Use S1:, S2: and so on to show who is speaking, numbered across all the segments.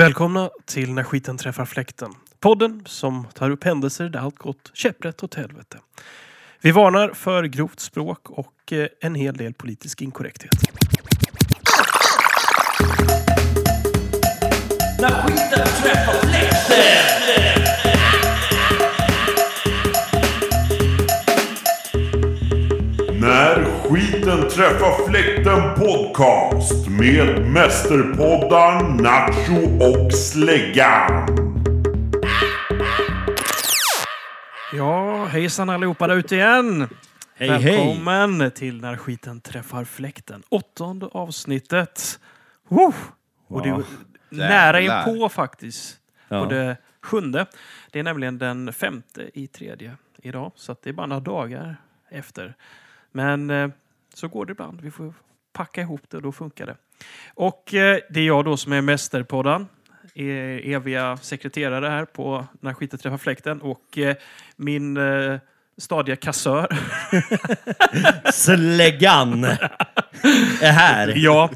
S1: Välkomna till När skiten träffar fläkten. Podden som tar upp händelser där allt gått käpprätt åt helvete. Vi varnar för grovt språk och eh, en hel del politisk inkorrekthet.
S2: När skiten träffar fläkten podcast med mästerpoddar Nacho och Släggan.
S1: Ja, hejsan allihopa där ute igen!
S3: Hej,
S1: Välkommen till När skiten träffar fläkten. Åttonde avsnittet. Woo! Och det är
S3: Wow.
S1: nära
S3: Jävlar.
S1: inpå faktiskt.
S3: Ja.
S1: På det sjunde. Det är nämligen den femte i tredje idag. Så att det är bara några dagar efter. Men eh, så går det ibland. Vi får packa ihop det och då funkar det. Och eh, det är jag då som är mästerpoddan. Er eviga sekreterare här på När skiten träffar fläkten. Och eh, min eh, stadiga kassör.
S3: Släggan är här.
S1: Ja,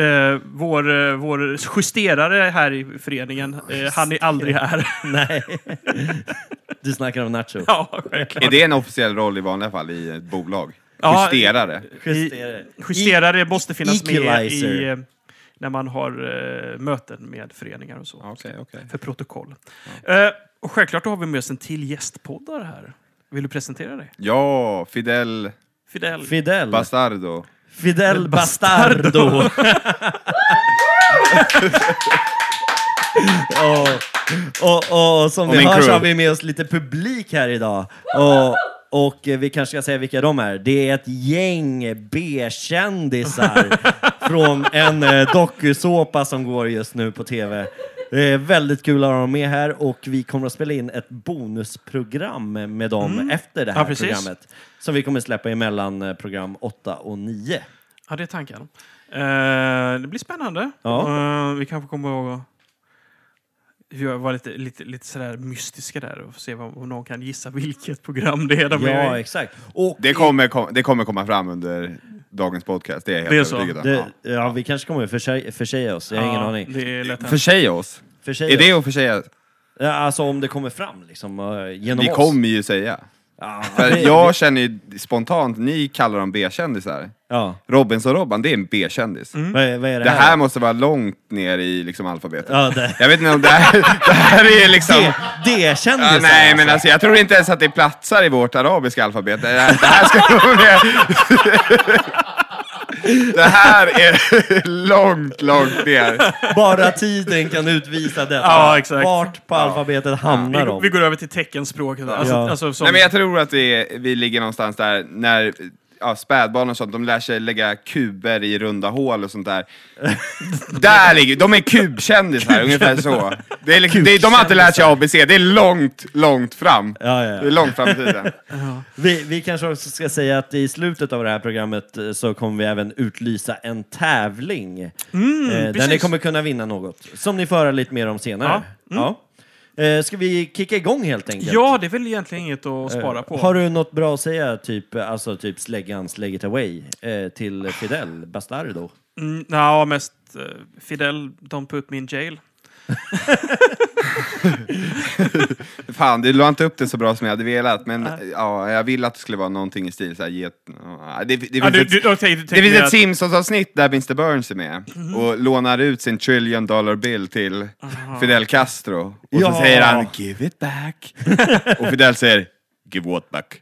S1: eh, vår, eh, vår justerare här i föreningen, eh, han är aldrig här.
S3: Nej. Du snackar om Nacho.
S1: ja, självklart.
S4: Är det en officiell roll i vanliga fall i ett bolag?
S1: Ja,
S4: Justerare?
S3: eh, Justerare.
S4: e-
S1: Justerare måste finnas med
S3: Equalizer.
S1: i, eh, när man har eh, möten med föreningar och så.
S4: Ah, Okej, okej.
S1: För protokoll. Eh, och självklart har vi med oss en till gästpoddare här. Vill du presentera dig?
S4: Ja, Fidel
S1: Fidel.
S3: Fidel.
S4: Bastardo.
S3: Fidel Bastardo. och, och, och, som
S4: Och
S3: vi
S4: min
S3: hör så
S4: crew.
S3: har vi med oss lite publik här idag. Och, och eh, vi kanske ska säga vilka de är. Det är ett gäng B-kändisar från en eh, dokusåpa som går just nu på tv. Det är väldigt kul att ha dem med här och vi kommer att spela in ett bonusprogram med dem efter det
S1: Mm.
S3: här
S1: Ja, precis.
S3: programmet. Som vi kommer släppa emellan eh, program 8 och 9.
S1: Ja, det är tanken. Eh, det blir spännande.
S3: Ja.
S1: Eh, vi kanske kommer ihåg att jag var lite, lite, lite sådär mystiska där och se vad, om någon kan gissa vilket program det är. De
S3: Ja,
S1: är i.
S3: exakt. Och
S4: Det kommer, kom, det kommer komma fram under dagens podcast, det är jag
S1: Det är
S4: helt
S1: så.
S4: övertygad om.
S3: Det, ja, vi kanske kommer försä- försäga oss. Jag har ingen
S1: Ja,
S3: aning.
S1: Det är lätt
S4: Ja.
S1: hänt.
S4: Försäga oss?
S3: Försäga
S4: Är det
S3: oss.
S4: att försäga?
S3: Ja, alltså om det kommer fram liksom, eh, genom
S4: Vi
S3: oss.
S4: kommer ju säga.
S3: Ja,
S4: För
S3: det-
S4: jag känner ju spontant, ni kallar dem B-kändisar.
S3: ja.
S4: Robinson-Robban, det är en B-kändis.
S3: Vad, är- vad är det,
S4: Det här måste vara långt ner i liksom, alfabetet.
S3: Ja, det...
S4: Jag vet inte om det här, det här är liksom...
S3: Det, det kändes
S4: Ja, nej, men alltså, jag tror inte ens att det platsar i vårt arabiska alfabet. Det här, det här ska nog ner. Det här är långt, långt ner.
S3: Bara tiden kan utvisa detta.
S1: Ja, exakt.
S3: Vart på alfabetet hamnar
S1: Vi,
S3: de?
S1: vi går över till teckenspråket. Alltså,
S3: Ja.
S1: alltså, som,
S4: Nej, men jag tror att vi, vi ligger någonstans där när ja, spädbarn och sånt, de lär sig lägga kuber i runda hål och sånt där. där ligger, de är kubkändisar, ungefär så. Det är liksom, det, de har inte lärt sig ABC, det är långt, långt fram.
S3: Ja, ja, ja.
S4: Det är långt fram i tiden.
S3: Vi, vi kanske också ska säga att i slutet av det här programmet eh, så kommer vi även utlysa en tävling. eh, där
S1: Mm, precis.
S3: ni kommer kunna vinna något. Som ni får höra lite mer om senare. Ja. Eh, ska vi kicka igång helt enkelt?
S1: mm. ja, det är väl egentligen inget att
S4: Eh,
S1: spara på.
S3: Har du något bra att säga, typ, alltså, typ släggan Slägg it away eh, till Fidel Bastardo?
S1: Mm, ja, mest eh, Fidel, don't put me in jail.
S4: Fan, du la inte upp det så bra som jag hade velat, men ja, jag ville att det skulle vara någonting i stil så här, get, ja, det, det finns
S1: Ja, Ah, du,
S4: ett,
S1: du, okej, du
S4: det
S1: tänker
S4: finns
S1: mer
S4: ett
S1: att- Mhm.
S4: Simpsons-avsnitt där Mr Burns är med och lånar ut sin trillion dollar bill till Fidel Castro. Och
S3: Ja.
S4: så säger han “Give it back” och Fidel säger “Give what back?”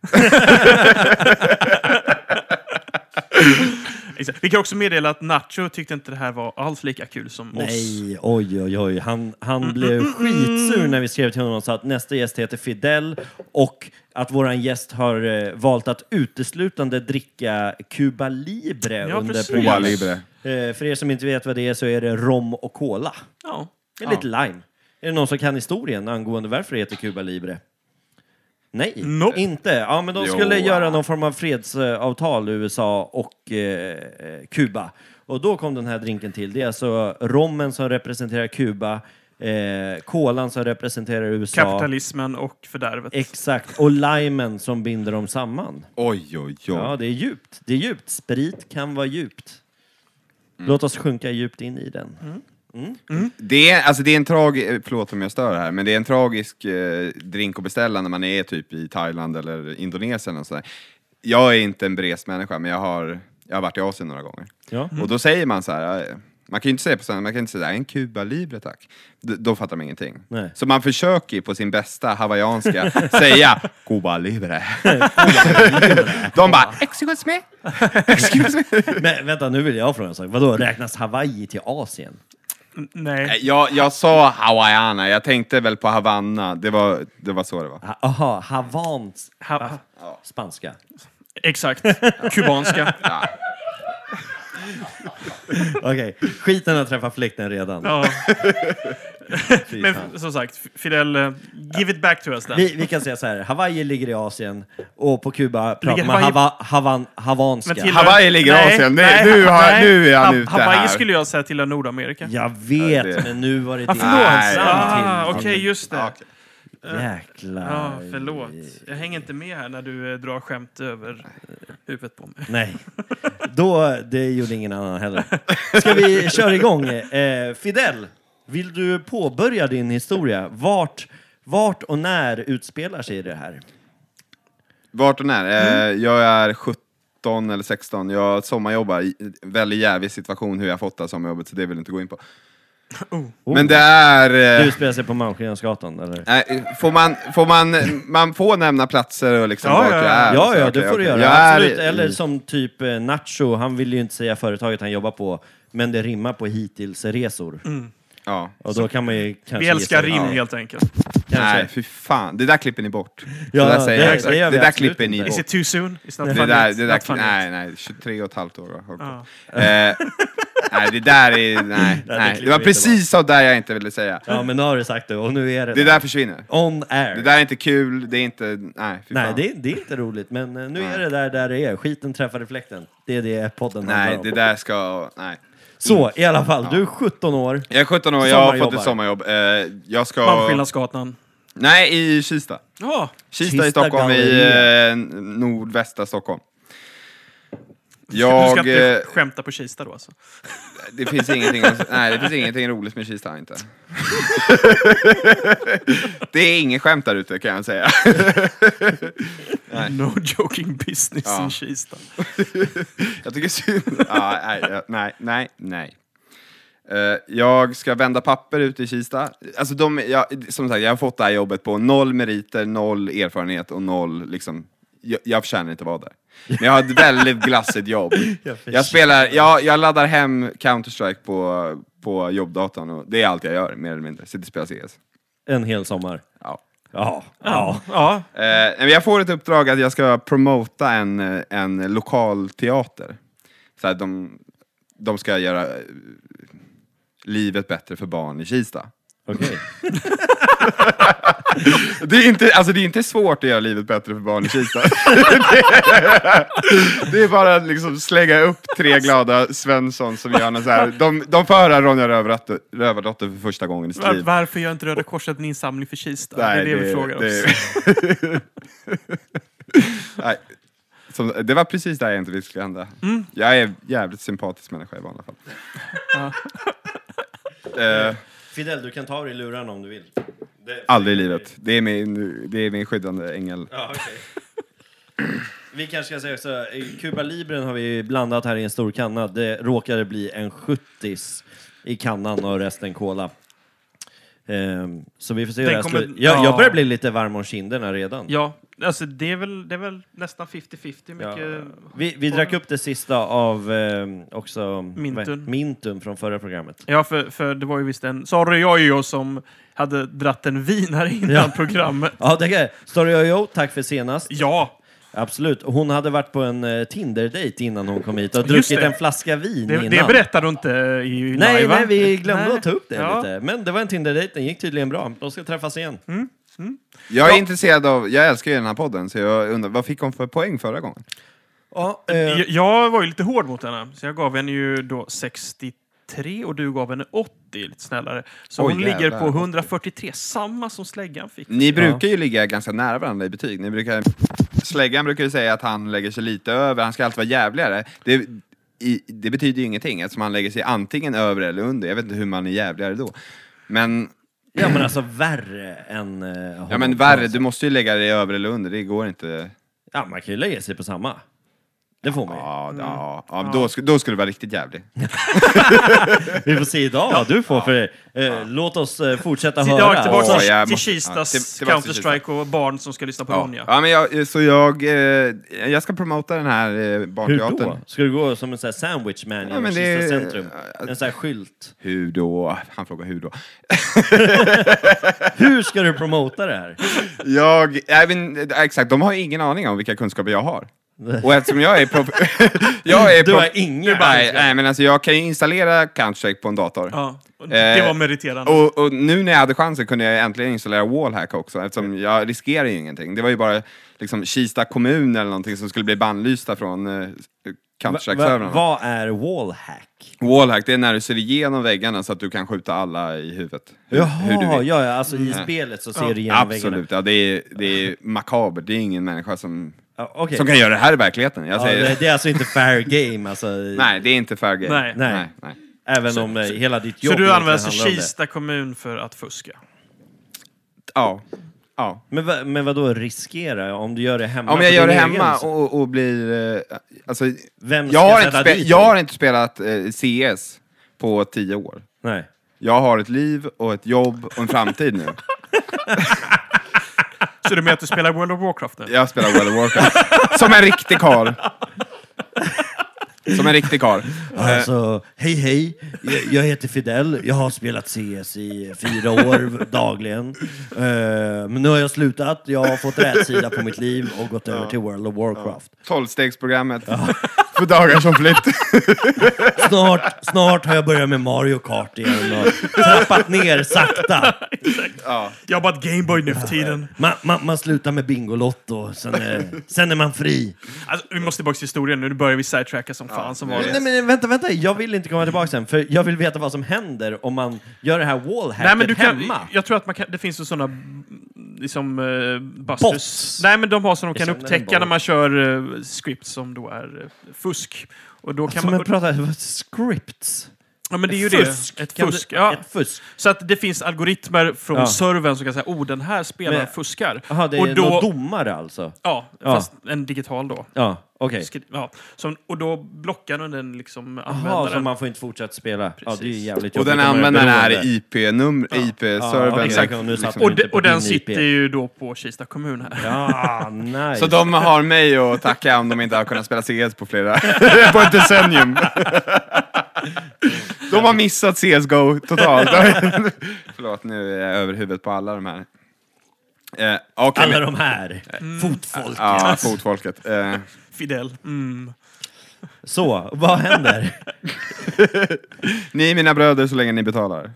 S1: Exakt. Vi kan också meddela att Nacho tyckte inte det här var alls lika kul som oss. Mm,
S3: Nej, oj, oj, oj. Han, han blev skitsur när vi skrev till honom och sa att nästa gäst heter Fidel och att våran gäst har eh, valt att uteslutande dricka Cuba Libre
S1: Ja,
S3: under
S1: precis.
S4: Cuba
S3: programmet.
S4: Libre.
S3: Eh, för er som inte vet vad det är så är det rom och cola.
S1: Ja.
S3: Det är lite lime. Är det någon som kan historien angående varför det heter Cuba Libre? Nej,
S1: Nope.
S3: inte. Ja, men de
S4: Jo.
S3: skulle göra någon form av fredsavtal, USA och eh, eh, Kuba. Och då kom den här drinken till. Det är alltså rommen som representerar Kuba, eh, kolan som representerar USA.
S1: Kapitalismen och fördärvet.
S3: Exakt, och limen som binder dem samman.
S4: Oj, oj, oj.
S3: Ja, det är djupt. Det är djupt. Sprit kan vara djupt. Låt oss sjunka djupt in i den.
S4: Det är, alltså det är en tragisk, förlåt om jag stör här, men det är en tragisk eh, drink att beställa när man är typ i Thailand eller Indonesien och sådär. Jag är inte en bres människa, men jag har, jag har varit i Asien några gånger.
S3: Ja.
S4: Och då säger man så här. eh, Man kan ju inte säga på svenska, man kan inte säga en Cuba Libre tack. D- då fattar man ingenting.
S3: Nej.
S4: Så man försöker ju på sin bästa hawaiianska säga Cuba Libre. De bara, excuse me, excuse me.
S3: Men vänta, nu vill jag fråga en sak. Vadå, räknas Hawaii till Asien?
S1: N- Mm, Nej,
S4: Nej, Eh, Jag, jag sa hawaiiana, jag tänkte väl på Havanna. Det var, det var så det var.
S3: Ha- Aha, Havans...
S1: ha,
S3: Spanska.
S1: exakt. Kubanska.
S3: Okej, skiten har träffat fläkten redan.
S1: Ja.
S3: Fy fan.
S1: Men som sagt, Fidel, eh, give it back to us then.
S3: Vi, vi kan säga så här, Hawaii ligger i Asien och på Kuba pratar
S1: Ligger
S3: man
S1: Hawaii-
S3: hava, havan, havanska.
S1: Men tillhör-
S4: Hawaii ligger i Asien. Nej, nu har- nu är han
S1: Ha-
S4: ute
S1: Hawaii
S4: här.
S1: skulle jag säga tillhör Nordamerika.
S3: Jag
S4: Ja,
S3: vet,
S4: det-
S3: men nu var det det.
S4: Nej.
S1: Förlåt! Ah,
S3: Till-
S1: Okej, just det. Ja,
S3: Jäklar.
S1: förlåt. Jag hänger inte med här när du eh, drar skämt över huvudet på
S4: Alltså,
S1: mig.
S3: Nej, Då, det gjorde ingen annan heller. Ska vi köra igång? Eh, Fidel, vill du påbörja din historia? Vart, vart och när utspelar sig det här?
S4: Vart och när? Eh,
S3: Mm.
S4: Jag är 17 eller 16, jag sommarjobbar. I- Väldigt jävig situation hur jag fått det här sommarjobbet, så det vill jag inte gå in på.
S3: Oh.
S4: Men det är...
S3: Det
S4: eh,
S3: utspelar sig på Malmskillnadsgatan, eller?
S4: Nej, får man, får man, man får nämna platser och liksom
S1: Ja,
S4: vart
S1: ja,
S4: jag
S1: ja.
S4: är?
S3: Ja,
S4: Så,
S3: ja,
S4: okej,
S3: det får du
S4: okej.
S3: göra.
S4: Jag är
S3: Absolut.
S4: i-
S3: Eller som typ eh, Nacho, han vill ju inte säga företaget han jobbar på, men det rimmar på hitillsresor.
S4: Mm. Ja.
S3: Och då kan man ju kanske
S1: Vi älskar
S3: gissa.
S1: rim helt enkelt.
S3: Kanske.
S4: Nej, fy fan. Det där klipper ni bort.
S3: Ja,
S4: det där
S3: det-
S4: säger jag.
S3: det
S4: Exakt.
S3: gör
S4: Det,
S3: vi
S4: där
S3: absolut
S4: klipper ni
S3: inte.
S1: Is
S4: bort.
S1: it too soon? It's not
S4: Det
S1: funny.
S4: där, det där,
S1: Not funny.
S4: nej, nej, 23 och ett halvt år har
S1: Ja.
S4: eh, Nej, det där är, nej, nej. Det
S3: klipper
S4: var
S3: vi
S4: precis så där jag inte ville säga.
S3: Ja, men nu har du sagt det och nu är det,
S4: Det där försvinner.
S3: On air.
S4: Det där är inte kul, det är inte, nej, fy
S3: Nej,
S4: fan.
S3: det, det är inte roligt, men eh, nu är det där där det är. Skiten träffar reflekten. Det är det podden handlar
S4: Nej,
S3: om.
S4: det där ska, nej.
S3: Så, i alla fall, du är 17 år.
S4: Jag är 17 år, jag har fått
S3: Sommarjobbar.
S4: ett sommarjobb. Eh, jag ska,
S1: Malmskillnadsgatan.
S4: nej, i Kista.
S1: Ja,
S4: Kista,
S3: Kista
S4: i Stockholm,
S3: galleria.
S4: i eh, nordvästra Stockholm.
S1: du
S4: Jag...
S1: ska inte
S4: eh,
S1: skämta på Kista då alltså?
S4: Det finns ingenting, nej, det finns ingenting roligt med Kista inte. det är inget skämt där ute kan jag säga.
S1: No joking business
S4: Ja.
S1: in Kista.
S4: jag tycker synd. Ja, nej, ja, nej, nej, nej. Eh, jag ska vända papper ute i Kista. Alltså de, jag, som sagt, jag har fått det här jobbet på noll meriter, noll erfarenhet och noll liksom, jag, jag förtjänar inte vara där. Men jag har ett väldigt glassigt jobb. Jag, spelar, jag, jag laddar hem Counter-Strike på, på jobbdatorn och det är allt jag gör, mer eller mindre. Sitter och spelar CS.
S3: En hel sommar.
S4: Ja.
S3: Ja. ja.
S1: Ja,
S4: Eh, nej, men jag får ett uppdrag att jag ska promota en, eh, en lokal teater. Så att de, de ska göra eh, livet bättre för barn i Kista.
S3: Okej.
S4: Det är inte, alltså det är inte svårt att göra livet bättre för barn i Kista. det, det är bara att liksom slänga upp tre glada Svensson som gör något så här. De, de får höra Ronja Rövardotter, Rövardotter för första gången i sitt
S1: var,
S4: liv.
S1: varför gör inte Röda Korset en insamling för Kista?
S4: Typ. Nej,
S1: det är det, vi frågar oss.
S4: Nej. Som, det var precis där jag inte ville skulle hända.
S1: Mm.
S4: Jag är jävligt sympatisk människa i vanliga fall. Eh,
S3: Fidel, du kan ta dig i luran om du vill. Det-
S4: aldrig i livet. Det är min, det är min skyddande ängel.
S3: Ja, okej. Vi kanske ska säga också, i Cuba Libren har vi blandat här i en stor kanna. Det råkade bli en 70 i kannan och resten cola. Ehm, så vi får se hur det
S1: Den
S3: här
S1: kommer-
S3: slu- jag, jag
S1: ja.
S3: börjar bli lite varm om kinderna redan.
S1: Ja, alltså det är väl, det är väl nästan 50-50. Mycket...
S3: Vi, vi drack upp det sista av ehm, också
S1: Mintun.
S3: vad- Mintun från förra programmet.
S1: Ja, för, för det var ju visst en Sorry Jojo som hade dratt en vin här innan
S3: Ja.
S1: programmet.
S3: Ja, det kan jag. Story Ojo, tack för senast.
S1: Ja,
S3: Absolut. Hon hade varit på en eh, Tinder-dejt innan hon kom hit och
S1: Just
S3: druckit
S1: det.
S3: en flaska vin
S1: det,
S3: innan.
S1: det berättar du inte eh, i
S3: Nej,
S1: live, va?
S3: nej, vi glömde
S1: Nej.
S3: att ta upp det
S1: Ja.
S3: lite. Men det var en Tinder-dejt, den gick tydligen bra. De ska träffas igen.
S1: Mm.
S4: Jag är intresserad av, jag älskar ju den här podden, så jag undrar, vad fick hon för poäng förra gången?
S3: Ja, eh,
S1: Jag, jag var ju lite hård mot henne, så jag gav henne ju då 63 och du gav henne 80, lite snällare. Så
S4: Oj,
S1: hon
S4: jävlar,
S1: ligger på
S4: 80.
S1: 143, samma som släggan fick.
S3: Mm.
S4: Ni brukar ju ligga ganska nära varandra i betyg. Ni brukar, släggan brukar ju säga att han lägger sig lite över, han ska alltid vara jävligare. Det, i, det betyder ju ingenting eftersom han lägger sig antingen över eller under. Jag vet inte hur man är jävligare då. Men,
S3: Ja men alltså värre än... eh,
S4: ja men alltså- värre, du måste ju lägga dig över eller under, det går inte.
S3: Ja man kan ju lägga sig på samma. Det får man ju.
S4: Ja, Mm. ja, ja då, sk- då skulle det vara riktigt jävlig.
S3: Vi får se idag vad du får för det. Eh, Låt oss eh, fortsätta höra.
S1: Tillbaka tillbaks
S4: Åh,
S1: till,
S4: jag
S1: till
S4: måste-
S1: Kistas
S4: ja, till- tillbaks till
S1: Counter-Strike och barn som ska lyssna på
S4: Ja.
S1: Ronja.
S4: Ja, men jag, så jag, eh, jag ska promota den här eh,
S3: Hur
S4: barnteatern.
S3: då? Ska du gå som en sån här sandwich man
S4: Ja,
S3: genom
S4: men
S3: Kista
S4: det-
S3: centrum? En sån här skylt.
S4: Hur då? Han frågar hur då.
S3: Hur ska du promota det här?
S4: Jag, även, exakt, de har ju ingen aning om vilka kunskaper jag har. Och eftersom jag är proff... jag är
S3: Du har
S4: proff-
S3: ingen
S4: nej,
S3: kunskap.
S4: nej, men alltså jag kan ju installera Counter-Strike på en dator.
S1: Ja, och det
S4: Eh,
S1: var meriterande.
S4: Och, och nu när jag hade chansen kunde jag äntligen installera Wallhack också eftersom jag riskerar ju ingenting. Det var ju bara liksom Kista kommun eller någonting som skulle bli bannlysta från
S3: Va,
S4: eh, Counter-Strike-servrarna.
S3: vad är wallhack?
S4: Wallhack, det är när du ser igenom väggarna så att du kan skjuta alla i huvudet. Hur, hur du
S3: Jaha,
S4: vill.
S3: ja, ja, alltså i spelet så ser du igenom väggarna.
S4: Absolut, ja, det är, det är makabert. Det är ingen människa som,
S3: Ja, okej.
S4: som kan göra det här i verkligheten. Jag
S3: ja,
S4: säger,
S3: det, det är alltså inte fair game, alltså,
S4: Nej, det är inte fair game.
S1: Nej.
S3: Nej.
S4: Nej, nej.
S3: även om eh, hela ditt jobb
S1: Så du
S3: egentligen
S1: använder sig
S3: handlar om det.
S1: Kista kommun för att fuska?
S4: Ja. ja.
S3: Men, va, men vadå riskera? Om du gör det hemma?
S4: Om
S3: på
S4: jag gör det
S3: din egen
S4: hemma
S3: så-
S4: och, och blir... eh, Alltså,
S3: Vem
S4: jag,
S3: ska
S4: har inte
S3: sätta
S4: spe-
S3: dit
S4: jag
S3: dig?
S4: har inte spelat eh, CS på tio år.
S3: Nej.
S4: Jag har ett liv och ett jobb och en framtid nu.
S1: Så du menar att du spelar World of Warcraft nu?
S4: Jag spelar World of Warcraft. Som en riktig karl. Som en riktig karl.
S3: Alltså, hej hej, jag, jag heter Fidel, jag har spelat CS i fyra år dagligen. Eh, men nu har jag slutat, jag har fått rätt sida på mitt liv och gått över till World of Warcraft.
S4: Tolvstegsprogrammet. För dagar som flytt.
S3: Snart, snart har jag börjat med Mario Kart igen och trappat ner sakta.
S1: Jag har bara ett Gameboy nu för tiden.
S3: Man, man, man slutar med Bingolotto, sen är, sen är man fri.
S1: Alltså, vi måste tillbaka till historien nu. Nu börjar vi sidetracka som fan som vanligt.
S3: Nej men vänta, vänta, jag vill inte komma tillbaka sen, för jag vill veta vad som händer om man gör det här wallhacket
S1: Nej, men du kan,
S3: hemma.
S1: jag tror att man kan, det finns ju sådana liksom, eh, busters.
S3: Bots.
S1: Nej, men de har som de kan
S3: Jag känner en
S1: upptäcka när
S3: boll.
S1: man kör eh, script som då är eh, fusk. Och då kan
S3: Som
S1: man,
S3: jag pratar, scripts.
S1: ja, men det är ju
S3: fusk.
S1: det. Ett
S3: Kan du-
S1: fusk. Ja.
S3: Ett fusk.
S1: Så att det finns algoritmer från
S3: Ja.
S1: servern som kan säga oh, den här spelaren
S3: Men-
S1: fuskar.
S3: Jaha, det är
S1: och då,
S3: någon domare alltså?
S1: ja,
S3: Ja.
S1: fast en digital då.
S3: Ja, okej.
S1: Skri- Ja. Som, och då blockar den den liksom
S3: Jaha, så
S1: användaren.
S3: man får inte fortsätta spela? Ja, det är ju jävligt
S4: Och den
S3: om man
S4: användaren är
S3: beroende.
S4: IP-nummer, IP-servern.
S3: Ja, exakt.
S4: liksom.
S3: Nu satt
S1: och
S3: den inte
S1: de,
S3: på
S1: och den
S3: din IP.
S1: sitter ju då på Kista kommun här.
S3: Ja, nice.
S4: Så de har mig att tacka om de inte har kunnat spela CS på flera, på ett decennium. De har missat CSGO totalt. Förlåt, nu är jag över huvudet på alla de här. Eh, okej,
S3: Alla
S4: men-
S3: de här.
S1: Mm.
S3: Fotfolket.
S4: Ja, fotfolket. Eh,
S1: Fidel. Mm.
S3: Så, vad händer?
S4: Eh. ni är mina bröder så länge ni betalar.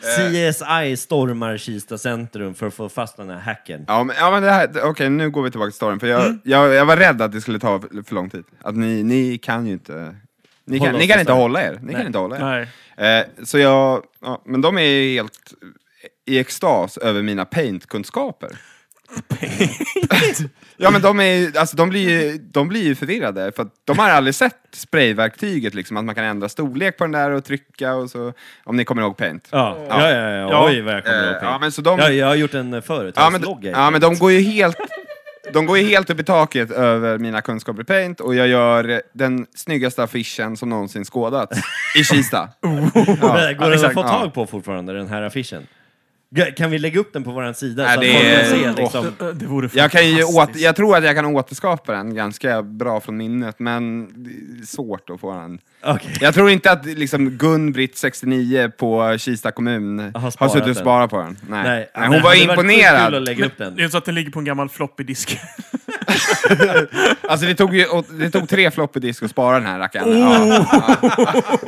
S3: CSI stormar Kista centrum för att få fast den här hacken.
S4: Ja, men, ja, men det här, okej, nu går vi tillbaka till storyn. För jag,
S3: Mm.
S4: jag, jag var rädd att det skulle ta för, för lång tid. Att ni, ni kan ju inte... Ni
S3: Hålla
S4: kan, ni
S3: oss
S4: kan
S3: i
S4: inte
S3: storyn.
S4: hålla er. Ni kan inte hålla er.
S1: Nej.
S4: Eh, så jag, ja, men de är ju helt i extas över mina paint-kunskaper. ja men de, är, ju- alltså, de, blir ju, de blir ju förvirrade, för att de har aldrig sett sprayverktyget, liksom, att man kan ändra storlek på den där och trycka och så, om ni kommer ihåg paint.
S3: Ja, ja, ja, ja,
S1: Ja.
S3: oj vad jag kommer
S4: Eh,
S3: ihåg.
S4: ja, men så de-
S3: jag, jag har gjort en eh,
S4: Ja men,
S3: företagslogga.
S4: ja, men de går ju helt... De går ju helt upp i taket över mina kunskaper i paint och jag gör den snyggaste affischen som någonsin skådats i Kista.
S3: Men Går den att
S4: exakt,
S3: få
S4: ja.
S3: tag på fortfarande, den här affischen? G- Kan vi lägga upp den på vår sida?
S4: Nej,
S3: så
S4: det
S3: att folk
S4: är-
S3: kan se, liksom,
S1: Det, det vore
S4: Jag, kan ju åt,
S1: fantastiskt.
S4: jag tror att jag kan återskapa den ganska bra från minnet, men det är svårt att få den.
S3: Okej.
S4: Jag tror inte att liksom Gun-Britt, 69, på Kista kommun
S3: Har
S4: har
S3: sparat
S4: suttit och
S3: den.
S4: sparat på den. Nej. Nej,
S3: men
S4: hon
S3: det
S4: var
S3: hade varit sjukt kul att
S4: imponerad.
S3: lägga upp den.
S1: Det är så att den ligger på en gammal floppy disk.
S4: Alltså det tog, ju, och det tog tre floppy disk att spara den här rackaren.
S3: Oh!
S4: Ja.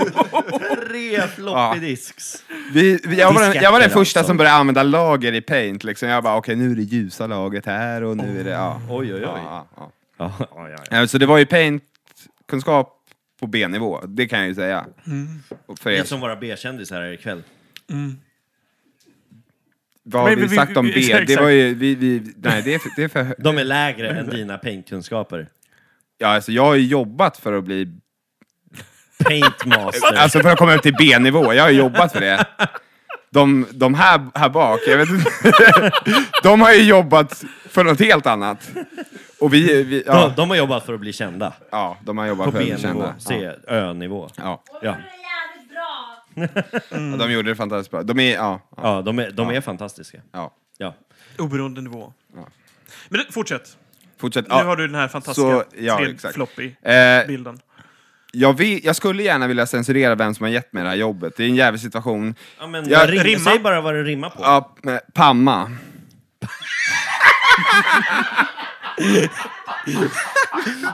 S3: Tre floppy disks.
S4: Vi, vi, jag, var den, jag var
S3: Disketter
S4: den första
S3: alltså.
S4: som började använda lager i paint. Liksom. Jag bara, okej nu är det ljusa laget här och nu är det... Ja.
S3: Oj, oj, oj.
S4: Ja, ja,
S3: Ja, ja, ja.
S4: ja. Eh, Så det var ju paint-kunskap på B-nivå, det kan jag ju säga.
S3: Mm.
S4: Och För
S3: Det
S4: er
S3: är som våra B-kändisar här ikväll.
S4: Vad har
S1: Men
S4: vi,
S1: vi- vi-
S4: sagt om
S1: vi-
S4: B?
S1: exakt,
S4: det var ju, vi, vi, nej det är för, det är för hö-
S3: De är lägre än dina paintkunskaper.
S4: Ja, alltså jag har ju jobbat för att bli...
S3: Paintmaster.
S4: Alltså för att komma upp till B-nivå. Jag har ju jobbat för det. De, de här, här bak, jag vet inte. De har ju jobbat för något helt annat. Och vi... vi ja,
S3: de, de har jobbat för att bli kända.
S4: ja, de har jobbat
S3: På
S4: för att bli
S3: B-nivå,
S4: kända.
S3: C, Ö-nivå.
S4: Ja,
S5: Och de
S3: Ja.
S5: är jävligt bra.
S1: Mm.
S4: Ja, de gjorde det fantastiskt bra. De är... Ja. ja,
S3: Ja, de är, de är fantastiska.
S4: ja.
S3: Ja.
S1: Oberoende nivå. Men det- fortsätt.
S4: Fortsätt.
S1: Nu har
S4: Ja.
S1: du den här
S4: Så,
S1: fantastiska
S4: ja,
S1: tre-
S4: exakt.
S1: floppy-bilden.
S4: Eh, jag, vill, jag skulle gärna vilja censurera vem som har gett mig det här jobbet. Det är en jävlig situation.
S3: ja men
S4: Ja,
S3: rim,
S1: rimma.
S3: Säg bara vad det rimmar på.
S4: Ja, men Pamma.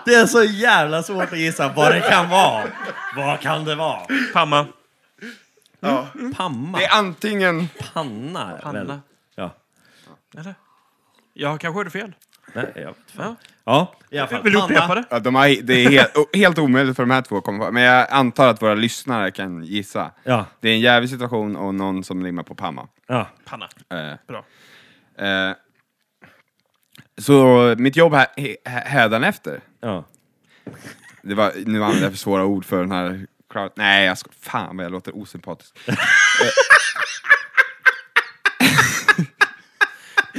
S3: Det är så jävla svårt att gissa vad det kan vara. Vad kan det vara?
S1: Pamma.
S3: Pamma?
S4: Det är antingen...
S3: Panna? väl?
S1: Panna.
S3: Ja.
S1: Eller? Jag kanske hörde fel.
S3: Nej, jag vet fan.
S1: Ja.
S3: Ja, i alla fall.
S1: Vill du
S3: Panna.
S1: upprepa det?
S4: Ja, de har, det är helt, o- helt omöjligt för de här två att komma på. Men jag antar att våra lyssnare kan gissa.
S3: Ja.
S4: Det är en jävlig situation och någon som rimmar på Pamma.
S3: Ja.
S1: Panna.
S4: Eh,
S1: Bra.
S4: eh, så mitt jobb här, he- hä- hädanefter,
S3: ja.
S4: det var, nu använder jag för svåra ord för den här crowd. Nej, jag sko- fan vad jag låter osympatisk.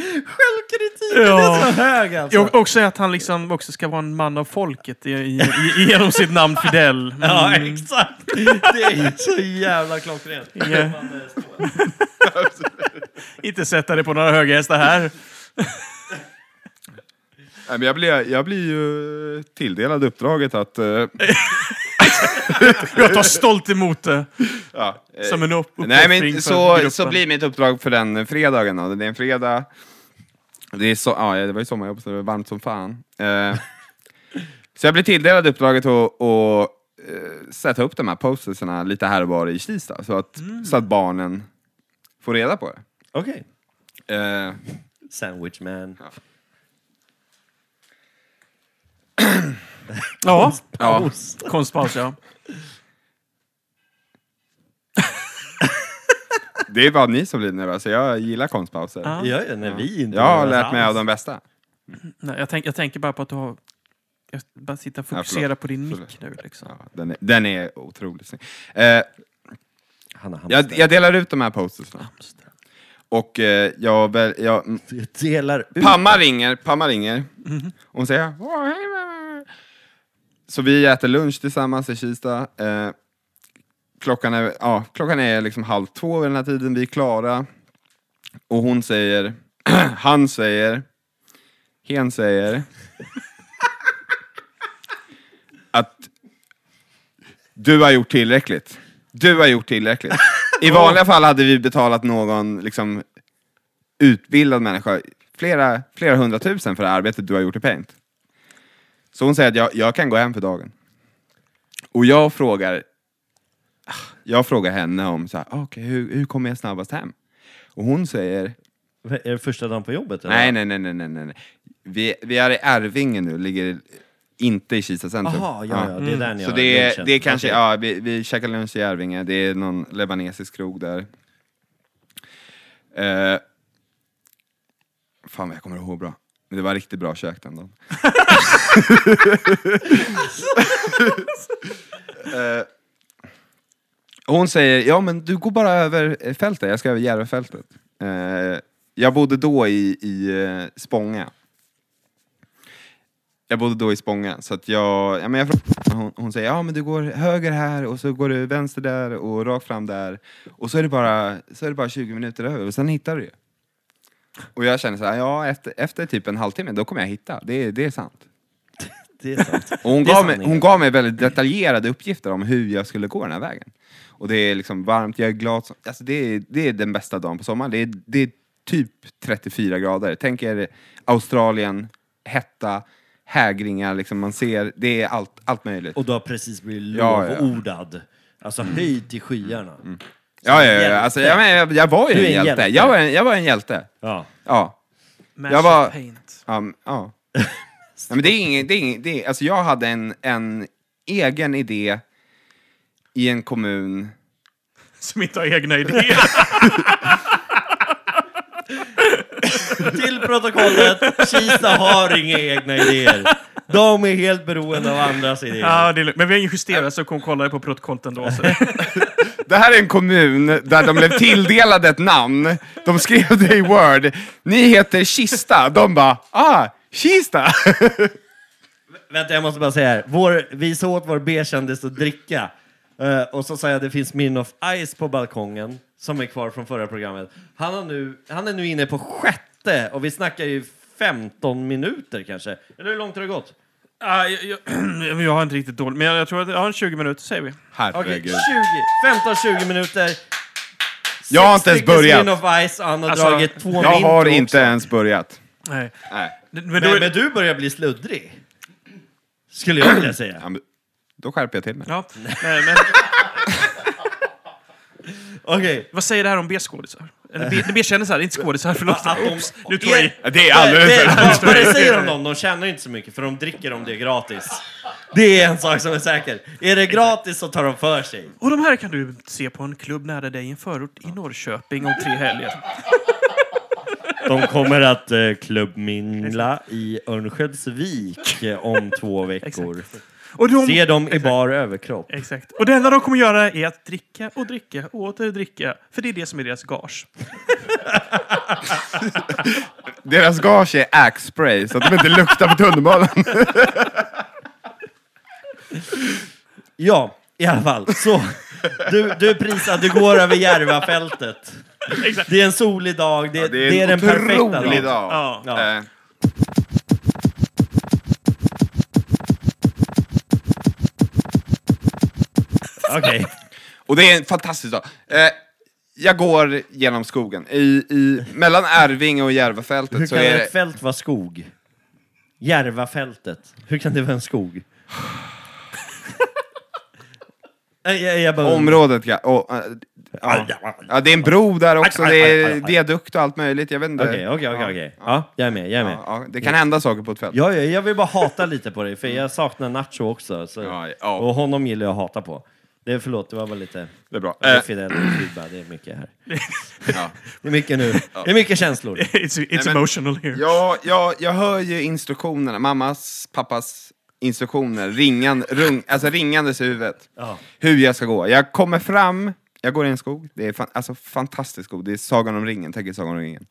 S3: Självkritiken är så hög alltså.
S1: Jag också att han liksom också ska vara en man av folket i, i, i, genom sitt namn Fidel. Mm.
S3: Ja, exakt. Det är så jävla klockrent.
S1: Inge. Inte sätta dig på några höga hästar här.
S4: Nej, men jag, blir, jag blir ju tilldelad uppdraget att... eh,
S1: Jag tar stolt emot det.
S4: ja, eh,
S1: Som en upp
S4: Nej,
S1: uppoffring
S4: men
S1: för
S4: så,
S1: gruppen.
S4: så blir mitt uppdrag för den fredagen då. Det är en fredag. Det, är så, ja, det var ju sommarjobb, så det var varmt som fan. Eh, så jag blev tilldelad uppdraget att att, eh, sätta upp de här posterserna lite här och var i Kista, så att,
S3: Mm.
S4: så att barnen får reda på det.
S3: Okej.
S4: Eh,
S3: Sandwich man.
S1: Ja,
S4: ja.
S1: konstpaus ja.
S4: Det är bara ni som blir nervösa, jag gillar konstpauser.
S1: Ja.
S3: Ja, ja, nej, vi är inte
S4: Jag har
S3: nervösa
S4: lärt mig av
S3: alls.
S4: de bästa.
S1: Nej, jag, tänk, jag tänker bara på att du har... Jag bara sitter och
S4: Ja, förlåt.
S1: fokuserar på din mick
S4: Förlåt.
S1: nu liksom.
S4: Ja, den, är, den är otroligt snygg. Eh,
S3: Han har hamstrat.
S4: jag, jag delar ut de här posterserna. Och eh, jag, väl, jag
S3: Jag delar ut.
S4: Pamma ringer, Pamma ringer. Hon säger... "Åh, hej, mamma." Så vi äter lunch tillsammans i Kista. Eh, klockan är, ja, klockan är liksom halv två vid den här tiden, vi är klara. Och hon säger, han säger, hen säger att du har gjort tillräckligt. Du har gjort tillräckligt. I vanliga fall hade vi betalat någon liksom, utbildad människa flera, flera hundratusen för det arbetet du har gjort i Paint. Så hon säger att jag, jag kan gå hem för dagen. Och jag frågar, ah, jag frågar henne om så här, "Ah, okej, hur, hur kommer jag snabbast hem? Och hon säger,
S3: Är det första dagen på jobbet? Eller?
S4: nej, nej, nej, nej, nej, nej. nej. Vi, vi är i Arvinge nu, ligger inte i Kista centrum.
S3: Jaha, ja, ja, det är där ni
S4: Mm. Så
S3: har
S4: det är,
S3: lunchen.
S4: det är kanske,
S3: Okej.
S4: ja, vi, vi käkar lunch i Arvinge, det är någon libanesisk krog där. Eh, fan vad jag kommer ihåg bra. Men Det var riktigt bra kök den dagen. Eh, hon säger, ja men du går bara över eh, fältet, jag ska över Järvafältet. Eh, jag bodde då i, i eh, Spånga. Jag bodde då i Spånga, så att jag... Ja, men jag frågade- hon, hon säger ja men du går höger här och så går du vänster där och rakt fram där. Och så är det bara, så är det bara 20 minuter över och sen hittar du ju. Och jag känner så här, ja efter, efter typ en halvtimme då kommer jag hitta, det, det är sant.
S3: Det är sant.
S4: Och hon,
S3: Det är
S4: gav mig,
S3: sanningen.
S4: hon gav mig väldigt detaljerade uppgifter om hur jag skulle gå den här vägen. Och det är liksom varmt, jag är glad. som- Alltså det, är, det är den bästa dagen på sommaren. Det är, det är typ 34 grader. Tänk er Australien, hetta, hägringar, liksom man ser, det är allt, allt möjligt.
S3: Och du har precis blivit
S4: Ja, ja, Mm. ja.
S3: lovordad. Alltså höjd till skyarna.
S4: ja, ja, ja.
S3: hjälte.
S4: Alltså, jag, men, jag, jag var ju
S3: Du är
S4: en
S3: en
S4: hjälte.
S3: hjälte.
S4: Jag, var en, jag var en hjälte.
S3: Ja.
S4: Ja.
S1: Mash
S4: Jag var-
S1: and paint.
S4: Ja, men- ja. Nej, men det är ingen, det är ingen, det är, alltså jag hade en, en egen idé i en kommun
S1: Som inte har egna idéer.
S3: Till protokollet, Kista har inga egna idéer. De De är helt beroende av andras idéer.
S1: Ja, det är lugnt. Men vi har ingen justerat så kom kolla det på protokollet ändå. Så.
S4: Det här är en kommun där de blev tilldelade ett namn. De skrev det i Word. Ni heter Kista. De bara, ah, Kista.
S3: Vänta, jag måste bara säga här. Vår, vi såg åt vår B-kändis att dricka. Eh, och så sa jag att det finns min of Ice på balkongen, som är kvar från förra programmet. Han, har nu, han är nu inne på sjätte, och vi snackar ju 15 minuter kanske. Eller hur långt har det gått?
S1: Ja, jag, jag, jag har inte riktigt dåligt, men jag, jag tror att ja, 20 minuter säger vi.
S3: Okej,
S4: Herregud.
S3: 20, 15-20 minuter.
S4: Jag har inte
S3: Sex
S4: ens
S3: stycken
S4: börjat.
S3: Min of Ice, och han har
S1: Alltså,
S3: dragit två
S4: Jag
S3: min
S4: har
S3: också.
S4: inte ens börjat.
S1: Nej.
S4: Nej.
S1: Men, då,
S3: Men, men du börjar bli sluddrig. Skulle jag vilja säga.
S4: Ja, men Då skärper jag till mig.
S1: Ja, men, men,
S3: Okej.
S1: vad säger det här om B-skådisar? Eller B- B-kändisar, inte skådisar. Förlåt.
S3: Att de-
S1: Oops, nu tog jag i.
S4: Det är
S3: Det-
S4: alldeles...
S3: Vad vad det säger om dem? De tjänar ju inte så mycket, för de dricker om det är gratis. Det är en sak som är säker. Är det gratis så tar de för sig.
S1: Och de här kan du se på en klubb nära dig i en förort i Norrköping om tre helger.
S3: De kommer att eh, klubbmingla i Örnsköldsvik eh, om två veckor.
S1: Och de,
S3: Ser dem i bar överkropp.
S1: Exakt. Och det enda de kommer göra är att dricka och dricka och åter dricka. För det är det som är deras gage.
S4: Deras gage är Axe-spray, så att de inte luktar på tunnelbanan.
S3: Ja, i alla fall. Så, du, du prisar, du går över Järvafältet.
S1: Exakt.
S3: Det är en solig dag, det, det är, den perfekta
S4: otrolig
S3: dagen.
S4: dag.
S1: Ja.
S3: Ja.
S4: Eh,
S3: Okej.
S4: Och det är en fantastisk dag. Eh, jag går genom skogen. I, i, mellan Ervinge och Järvafältet
S3: Hur
S4: så
S3: kan
S4: är
S3: ett
S4: det...
S3: fält vara skog? Järvafältet. Hur kan det vara en skog? Nej, jag, jag bara...
S4: Området, ja. Och, eh, ja. ja. Det är en bro där också,
S3: Aj,
S4: det
S3: aj, aj, aj,
S4: är
S3: aj.
S4: viadukt och allt möjligt. Jag vet inte.
S3: Okej, okej, okej, okej. Ja, jag är med, jag är med.
S4: Ja, det kan hända saker på ett fält.
S3: Ja, ja, jag vill bara hata lite på dig, för jag saknar Nacho också. Så.
S4: Ja, ja.
S3: Och honom gillar jag att hata på. Det, förlåt, det var väl lite...
S4: Det är bra.
S3: Det är
S4: Eh,
S3: Fidel och Kribba, det är mycket här.
S4: ja.
S3: Det är mycket nu. Det är mycket känslor.
S1: It's, it's
S4: men-
S1: emotional here.
S4: Ja, ja, jag hör ju instruktionerna, mammas, pappas instruktioner, ringan, rung, alltså ringandes i huvudet.
S3: Ja.
S4: Hur jag ska gå. Jag kommer fram, jag går i en skog, det är fan, alltså fantastisk skog, det är Sagan om ringen, tänk er Sagan om ringen.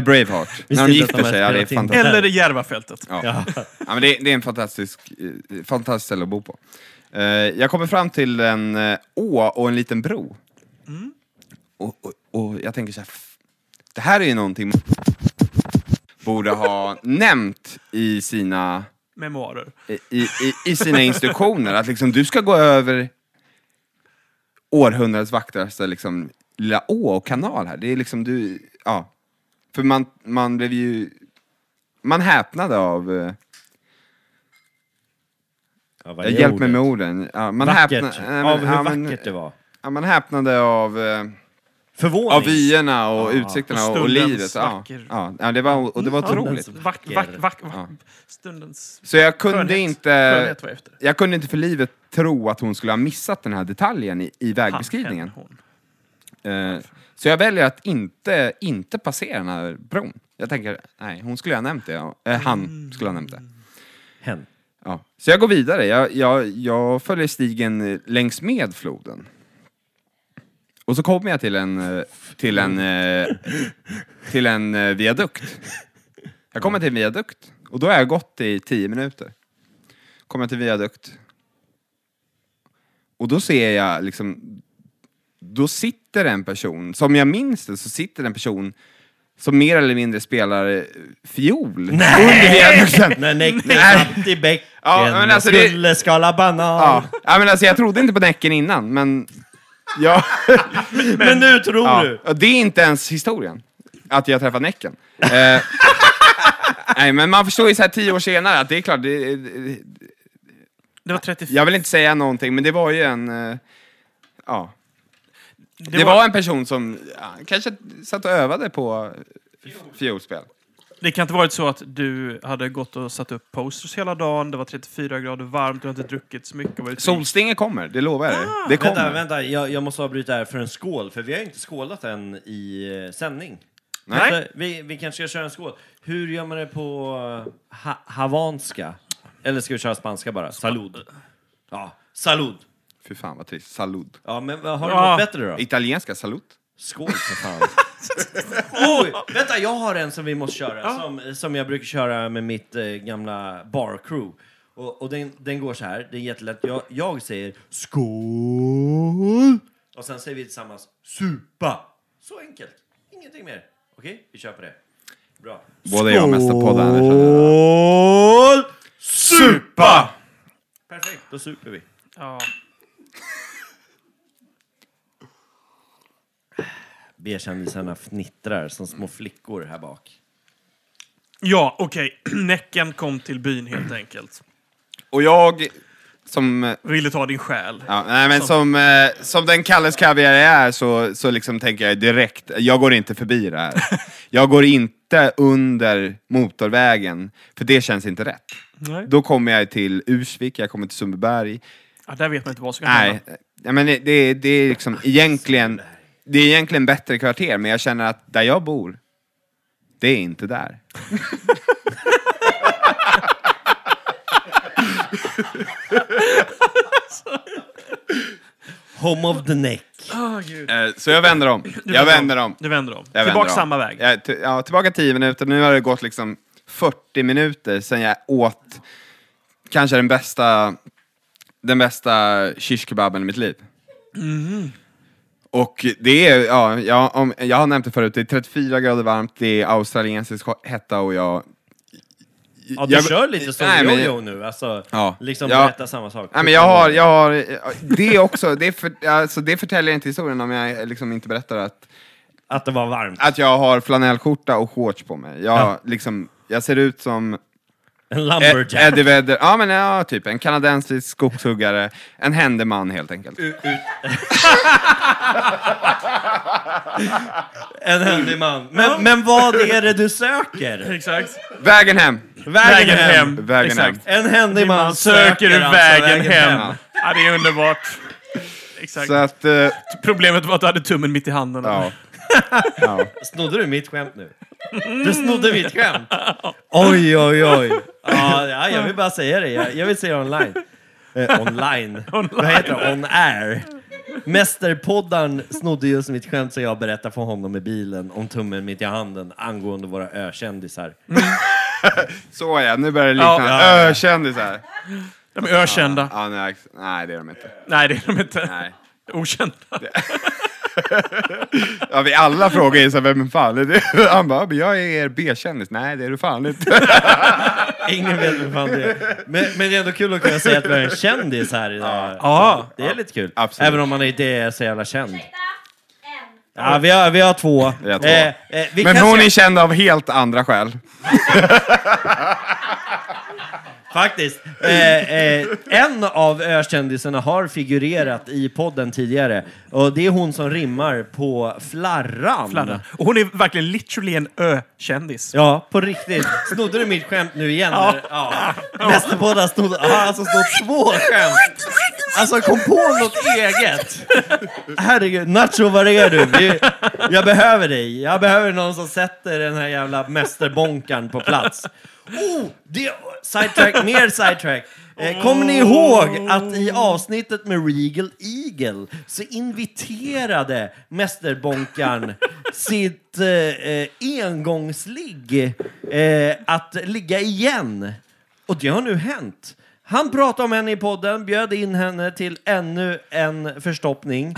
S4: Braveheart,
S3: Visste
S4: när de
S3: inte att
S4: gifter
S3: de
S4: sig,
S3: har
S4: ja, det är
S3: spelat in.
S4: fantastiskt.
S1: Eller Järvafältet.
S4: Ja. Ja.
S3: Ja.
S4: men det, det är en fantastisk, eh, fantastisk ställe att bo på. Eh, jag kommer fram till en eh, å och en liten bro. Och, och, och jag tänker så här, "F- det här är ju någonting man borde ha nämnt i sina,
S1: Memoarer.
S4: i, i, i sina instruktioner. Att liksom du ska gå över århundradets vackraste liksom, lilla å och kanal här. Det är liksom du, ja. För man, man blev ju, man häpnade av eh,
S3: Ja, vad är
S4: Jag hjälp mig
S3: ordet?
S4: med orden. Ja, man
S3: Vackert.
S4: häpna- nej, men-
S3: Av hur
S4: ja, men-
S3: vackert det var.
S4: Ja, man häpnade av, eh,
S3: Förvåning.
S4: av vyerna och utsikterna
S1: och
S4: och, och
S1: stundens
S4: livet. Ja,
S1: vacker-
S4: ja, ja, det var, och det var otroligt.
S3: stundens-
S1: Vack, vack, vack, vack,
S4: Ja.
S1: Stundens
S4: Så jag kunde
S1: skönhet.
S4: inte...
S1: Skönhet var efter.
S4: Jag kunde inte för livet tro att hon skulle ha missat den här detaljen i, i
S1: Han,
S4: vägbeskrivningen.
S1: hen, hon.
S4: Eh, så jag väljer att inte, inte passera den här bron. Jag tänker, nej, hon skulle ha nämnt det. ja. Eh, han skulle ha nämnt det.
S3: Hen.
S4: Ja. Så jag går vidare. Jag, jag, jag följer stigen eh, längs med floden. Och så kommer jag till en, eh, till en, eh, till en eh, viadukt. Jag kommer till en viadukt. Och då har jag gått i tio minuter. Kommer jag till viadukt. Och då ser jag liksom... Då sitter en person, som jag minns det, så sitter en person som mer eller mindre spelar eh, fiol under viadukten.
S3: När Näcken
S4: Nej.
S3: satt i bäcken
S4: Ja, men alltså det-
S3: skulle skala banan.
S4: Ja. ja, men alltså jag trodde inte på Näcken innan, men... Ja.
S3: Men nu tror
S4: ja.
S3: du!
S4: Det är inte ens historien, att jag träffade Näcken. Eh, nej, men man förstår ju så här tio år senare att det är klart, det,
S1: Det var 34.
S4: jag vill inte säga någonting, men det var ju en... eh, ja. Det, var... en person som ja, kanske satt och övade på f- fiolspel.
S1: Det kan inte varit så att du hade gått och satt upp posters hela dagen, det var 34 grader varmt, du hade inte druckit så mycket. och varit-
S4: Solstinget kommer, det lovar jag dig. Det kommer.
S3: Vänta, vänta, jag, jag måste avbryta här för en skål, för vi har ju inte skålat än i eh, sändning.
S1: Nej.
S3: Vänta, vi, vi kanske ska köra en skål. Hur gör man det på eh, ha havanska? Eller ska vi köra spanska bara? Salud. Ja, salud.
S4: Fy fan vad trist. Salud.
S3: Ja, men vad- har du
S1: Ja.
S3: något bättre då?
S4: Italienska salut.
S3: Skål för fan. Oj, vänta, jag har en som vi måste köra, som, som jag brukar köra med mitt eh, gamla barcrew. Och, och den, den går så här, det är jättelätt. Jag, jag säger skål och sen säger vi tillsammans supa. Så enkelt, ingenting mer. Okej, vi kör på det. Bra.
S4: Både jag och Mästerpodden. Anders, känner jag.
S3: Skål!
S4: Supa!
S3: Perfekt, då super vi.
S1: Ja.
S3: B-kändisarna fnittrar som små flickor här bak.
S1: Ja, okej. Näcken kom till byn helt enkelt.
S4: Och jag som... eh,
S1: Ville ta din själ.
S4: Ja, nej, men som, eh, som den Kalles Kaviar jag är så, så liksom tänker jag direkt, jag går inte förbi det här. Jag går inte under motorvägen, för det känns inte rätt.
S1: Nej.
S4: Då kommer jag till Ursvik, jag kommer till Sundbyberg.
S1: Ja, där vet man inte vad som kan
S4: Nej,
S1: hända.
S4: nej, men det, är- det är liksom egentligen, det är egentligen bättre kvarter, men jag känner att där jag bor, det är inte där.
S3: Home of the neck.
S1: Ah, gud.
S4: Eh, Så jag vänder om.
S1: Du
S4: Jag vänder om.
S1: Du vänder om.
S4: Jag vänder
S1: Tillbaka
S4: om.
S1: samma väg.
S4: Jag, t- ja, tillbaka 10 minuter. Nu har det gått liksom 40 minuter sedan jag åt kanske den bästa, den bästa shish kebaben i mitt liv. Och det är, ja, jag, om, jag har nämnt det förut, det är 34 grader varmt, det är australiensisk hetta och jag...
S3: Ja, du
S4: jag-
S3: kör lite som
S4: Nej, men-
S3: Jojo nu, alltså.
S4: Ja.
S3: Liksom
S4: Ja.
S3: berätta samma sak.
S4: Nej, men jag har, jag har, det också, det, är för, alltså, det förtäljer inte historien om jag liksom inte berättar att
S3: Att det var varmt.
S4: Att jag har flanellskjorta och shorts på mig. Jag,
S3: Ja.
S4: liksom, jag ser ut som
S3: En
S4: Ed-
S3: lumberjack.
S4: Eddie Vedder, ja men ja, typ en kanadensisk skogshuggare, en händeman helt enkelt.
S3: En händig man. Men, men vad är det du söker?
S1: Exakt.
S4: Vägen hem!
S1: Vägen hem.
S4: Vägen
S1: Exakt.
S4: hem.
S3: En händig man,
S1: Man söker du
S3: alltså
S1: vägen hem.
S4: hem.
S1: Ja, det är underbart. Exakt.
S4: Så att, eh,
S1: Problemet var att du hade tummen mitt i handen.
S4: ja.
S3: Snodde du mitt skämt nu? Du snodde mitt skämt? Oj, oj, oj. Ja, ja, jag vill bara säga det. Jag, jag vill säga online. Eh, online. Vad heter det? On air. Mästerpoddaren snodde just mitt skämt så jag berättade för honom i bilen om tummen mitt i handen angående våra ökändisar.
S4: Så ja, nu börjar det likna
S1: Ja,
S4: ökändisar.
S1: De är ökända.
S4: Ja, nej, nej, det är de inte.
S1: Nej, det är de inte.
S4: Nej.
S1: Okända.
S4: Ja, vi alla frågar ju så här, vem fan är du? Han bara, "Ja, men jag är er B-kändis. Nej, det är du fan inte.
S3: Ingen vet vem fan det är. Men, men det är ändå kul att kunna säga att vi har en kändis här idag.
S1: Ja.
S3: Det är lite kul.
S4: Absolut.
S3: Även om man inte är så jävla känd.
S5: Ursäkta. En.
S3: Ja, vi, har, vi har två.
S4: Vi har två.
S3: Eh, eh, vi
S4: Men
S3: kanske-
S4: hon är känd av helt andra skäl.
S3: Faktiskt. Eh, eh, en av ökändisarna har figurerat i podden tidigare. Och det är hon som rimmar på flarran.
S1: Fladda. Och hon är verkligen literally en ö-kändis.
S3: Ja, på riktigt. Snodde du mitt skämt nu igen?
S1: Ja.
S3: eller? ja. Nästa båda snodde... Ah, alltså snott två skämt! Alltså kom på något eget! Herregud, Nacho var är du? Vi, jag behöver dig. Jag behöver någon som sätter den här jävla mästerbonkan på plats. Oh, det... Sidetrack, mer sidetrack. Eh, Kommer ni ihåg att i avsnittet med Regal Eagle så inviterade mästerbonkan sitt eh, eh, engångsligg eh, att ligga igen? Och det har nu hänt. Han pratade om henne i podden, bjöd in henne till ännu en förstoppning.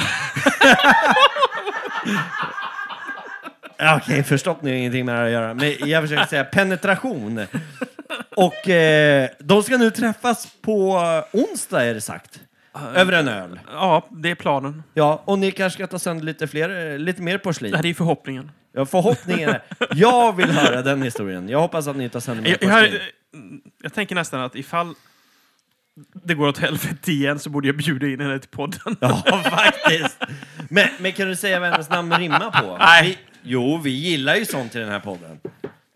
S3: Okej, förstoppning har ingenting med det här att göra. Men jag försöker säga penetration. Och eh, de ska nu träffas på onsdag, är det sagt. Över en öl.
S1: Ja, det är planen.
S3: Ja, och ni kanske ska ta sönder lite, fler, eh, lite mer porslin.
S1: Det här är förhoppningen.
S3: Ja, Förhoppningen är... Jag vill höra den historien. Jag hoppas att ni tar sönder mer
S1: Jag, jag, har-
S3: porslin.
S1: jag tänker nästan att ifall det går åt helvete igen så borde jag bjuda in henne till podden.
S3: Ja, faktiskt. Men, men kan du säga vad hennes namn rimmar på?
S1: Nej.
S3: Vi, jo, vi gillar ju sånt i den här podden.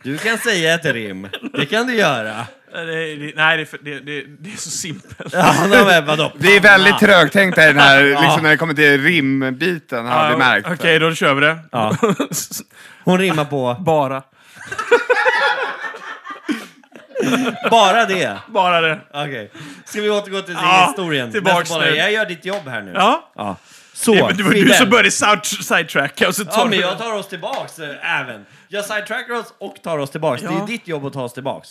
S3: Du kan säga ett rim. Det kan du göra.
S1: Det, är- det, nej, det, är för- det, det, det är så simpelt.
S3: Ja, men vadå?
S4: Vi är väldigt trögtänkta i den här,
S3: Ja.
S4: liksom när det kommer till rimbiten har vi märkt.
S1: Okej, då kör vi det.
S3: Ja. Hon rimmar på...
S1: Bara.
S3: Bara det?
S1: Bara det.
S3: Okej. Ska vi återgå till
S1: Ja,
S3: historien?
S1: tillbaks
S3: Mest bara,
S1: nu.
S3: jag gör ditt jobb här nu.
S1: Ja.
S3: Så,
S1: Det var det var du
S3: Fidel.
S1: som började sound- sidetracka och så tar
S3: Ja, men
S1: du-
S3: jag tar oss tillbaks eh, även. Jag sidetrackar oss och tar oss tillbaks. Det
S1: Ja.
S3: är ditt jobb att ta oss tillbaks.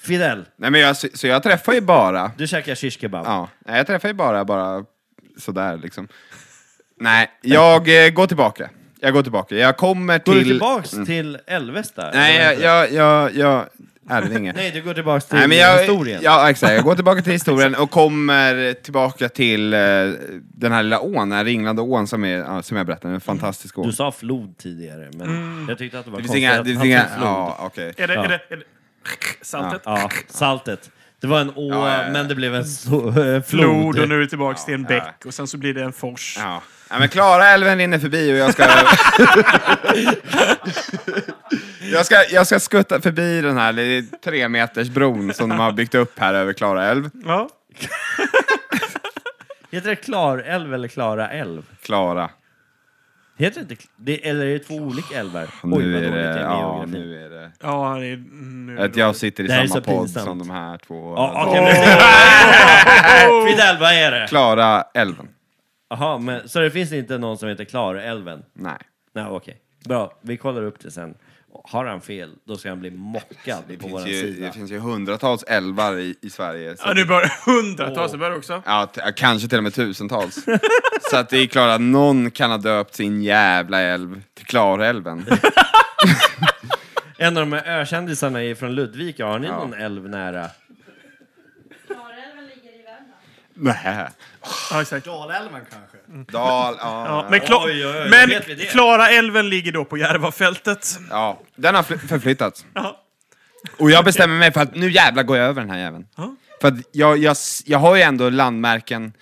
S3: Fidel,
S4: Nej, men jag, så jag träffar ju bara.
S3: du käkar shishkebab.
S4: Ja, nej, jag träffar ju bara, bara sådär liksom. Nej, jag eh, går tillbaka. Jag går tillbaka. Jag kommer
S3: Går
S4: till... mm.
S3: du tillbaks till Älvesta?
S4: Nej,
S3: Eller vad
S4: jag...
S3: heter det?
S4: jag, jag, jag Arvinge.
S3: Nej, du går tillbaks till
S4: Nej, men jag,
S3: historien.
S4: Ja, exakt. Jag går tillbaka till historien och kommer tillbaka till eh, den här lilla ån, den här ringlande ån som, är, ja, som jag berättade, en fantastisk ån.
S3: Du sa flod tidigare, men
S1: Mm.
S3: jag tyckte att det var
S4: Det finns
S3: konstigt
S4: inga...
S3: att
S4: Det finns
S3: han
S4: inga
S3: sa flod.
S4: ja, okej.
S1: Är det,
S3: Ja.
S1: är det, är det... Saltet.
S3: Ja, saltet. Det var en å,
S4: Ja, ja, ja.
S3: men det blev en so- eh, flod.
S1: Flod och nu är vi tillbaka till en
S4: Ja.
S1: bäck och sen så blir det en fors.
S4: Ja. ja, men Klara älven rinner förbi och jag ska... jag, ska jag ska skutta förbi den här li- tre meters bron som de har byggt upp här över Klara älv.
S1: Ja.
S3: Heter det Klarälv eller Klara älv?
S4: Klara.
S3: Heter det inte... Kl- Det, eller är det två olika älvar?
S4: Nu är
S3: dåligt jag
S4: det...
S3: är med
S4: Ja,
S3: geografi.
S4: nu är det...
S1: Ja, det är, nu
S4: Att jag sitter i
S3: Det här är
S4: samma
S3: så
S4: podd
S3: pinsamt.
S4: som de här två.
S3: Ja, okej, men- Fidel, vad är det?
S4: Klara älven.
S3: Jaha, men så det finns inte någon som heter Klarälven?
S4: Nej.
S3: Nej, okej. Bra, vi kollar upp det sen. Har han fel, då ska han bli mockad
S4: Det
S3: på våran
S4: finns, ju,
S3: sida.
S4: det finns ju hundratals älvar i, i Sverige. så-
S1: Ja, nu börjar hundratals, det börjar också.
S4: Ja, t- ja, kanske till och med tusentals. så att det är klart att någon kan ha döpt sin jävla älv till Klarälven.
S3: En av de här ökändisarna är från Ludvika. Har ni någon älv nära?
S5: Klarälven ligger i Värmland.
S4: Nej.
S1: Ja, exakt.
S6: Dalälven kanske?
S4: Dal,
S1: Ja,
S4: ja. ja.
S1: men Kla-
S3: Oj, oj, oj, vet vi
S1: men
S3: det?
S1: Klara älven ligger då på Järvafältet.
S4: Den har fl- förflyttats.
S1: Ja.
S4: Och jag bestämmer mig för att nu jävlar går jag över den här jäveln.
S1: Ja.
S4: För att jag, jag, s- jag har ju ändå landmärken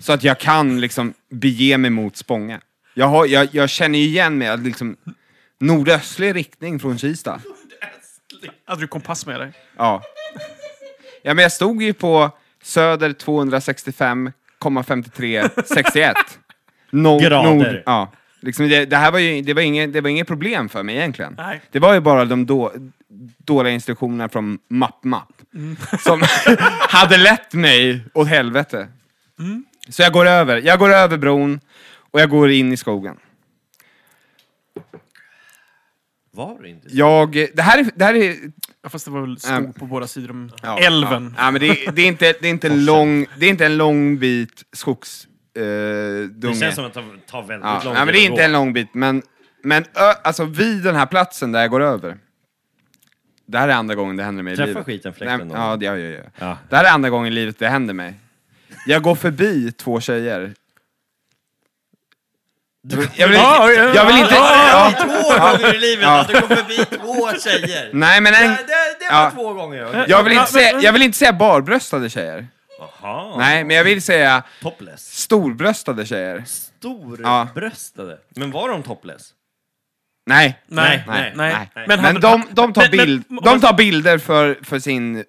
S4: så att jag kan liksom bege mig mot Spånga. Jag, har, jag, jag känner ju igen mig, liksom nordöstlig riktning från Kista.
S1: Hade du kompass med dig?
S4: Ja. ja, men jag stod ju på Söder 265,5361. Nord,
S3: Grader.
S4: ja. Liksom det, det här var ju det var inget, det var inget problem för mig egentligen.
S1: Nej.
S4: Det var ju bara de då, dåliga instruktionerna från MappMapp som hade lett mig åt helvete. Så jag går över. Jag går över bron och jag går in i skogen.
S3: Var det inte?
S4: Jag, det här är, det här är
S1: Ja, fast det var väl skog
S4: Äm.
S1: på båda sidor om
S4: Ja,
S1: älven.
S4: Ja. Ja, men det, det, är inte, det, är inte en lång, det är inte en lång bit skogsdunge. Eh,
S3: Det
S4: dunge.
S3: känns som att det tar väldigt
S4: ja.
S3: lång tid
S4: ja, men det är
S3: att gå.
S4: inte en lång bit, men, men ö, alltså, vid den här platsen där jag går över. Det här är andra gången det händer mig
S3: Träffa
S4: i livet.
S3: skiten, fläkten
S4: Nej,
S3: då.
S4: ja, det gör jag. gör jag.
S3: Ja.
S4: Det här är andra gången i livet det händer mig. Jag går förbi två tjejer. Jag vill,
S1: Ja, ja,
S4: jag vill inte... Ja,
S3: Två gånger i livet
S4: Ja.
S3: att du går förbi två tjejer!
S4: nej, men en,
S3: Det, det, det var
S4: Ja.
S3: två gånger. okej.
S4: jag, vill inte säga, jag vill inte säga barbröstade tjejer.
S3: Jaha.
S4: Nej, men jag vill säga
S3: Topless.
S4: storbröstade tjejer.
S3: Storbröstade. Men var de topless?
S4: Nej.
S1: Nej,
S4: Nej,
S1: nej.
S4: nej.
S1: Men
S4: Men,
S1: hade-
S4: de, de, tar
S1: Men- men-
S4: bild, de tar bilder för, för sin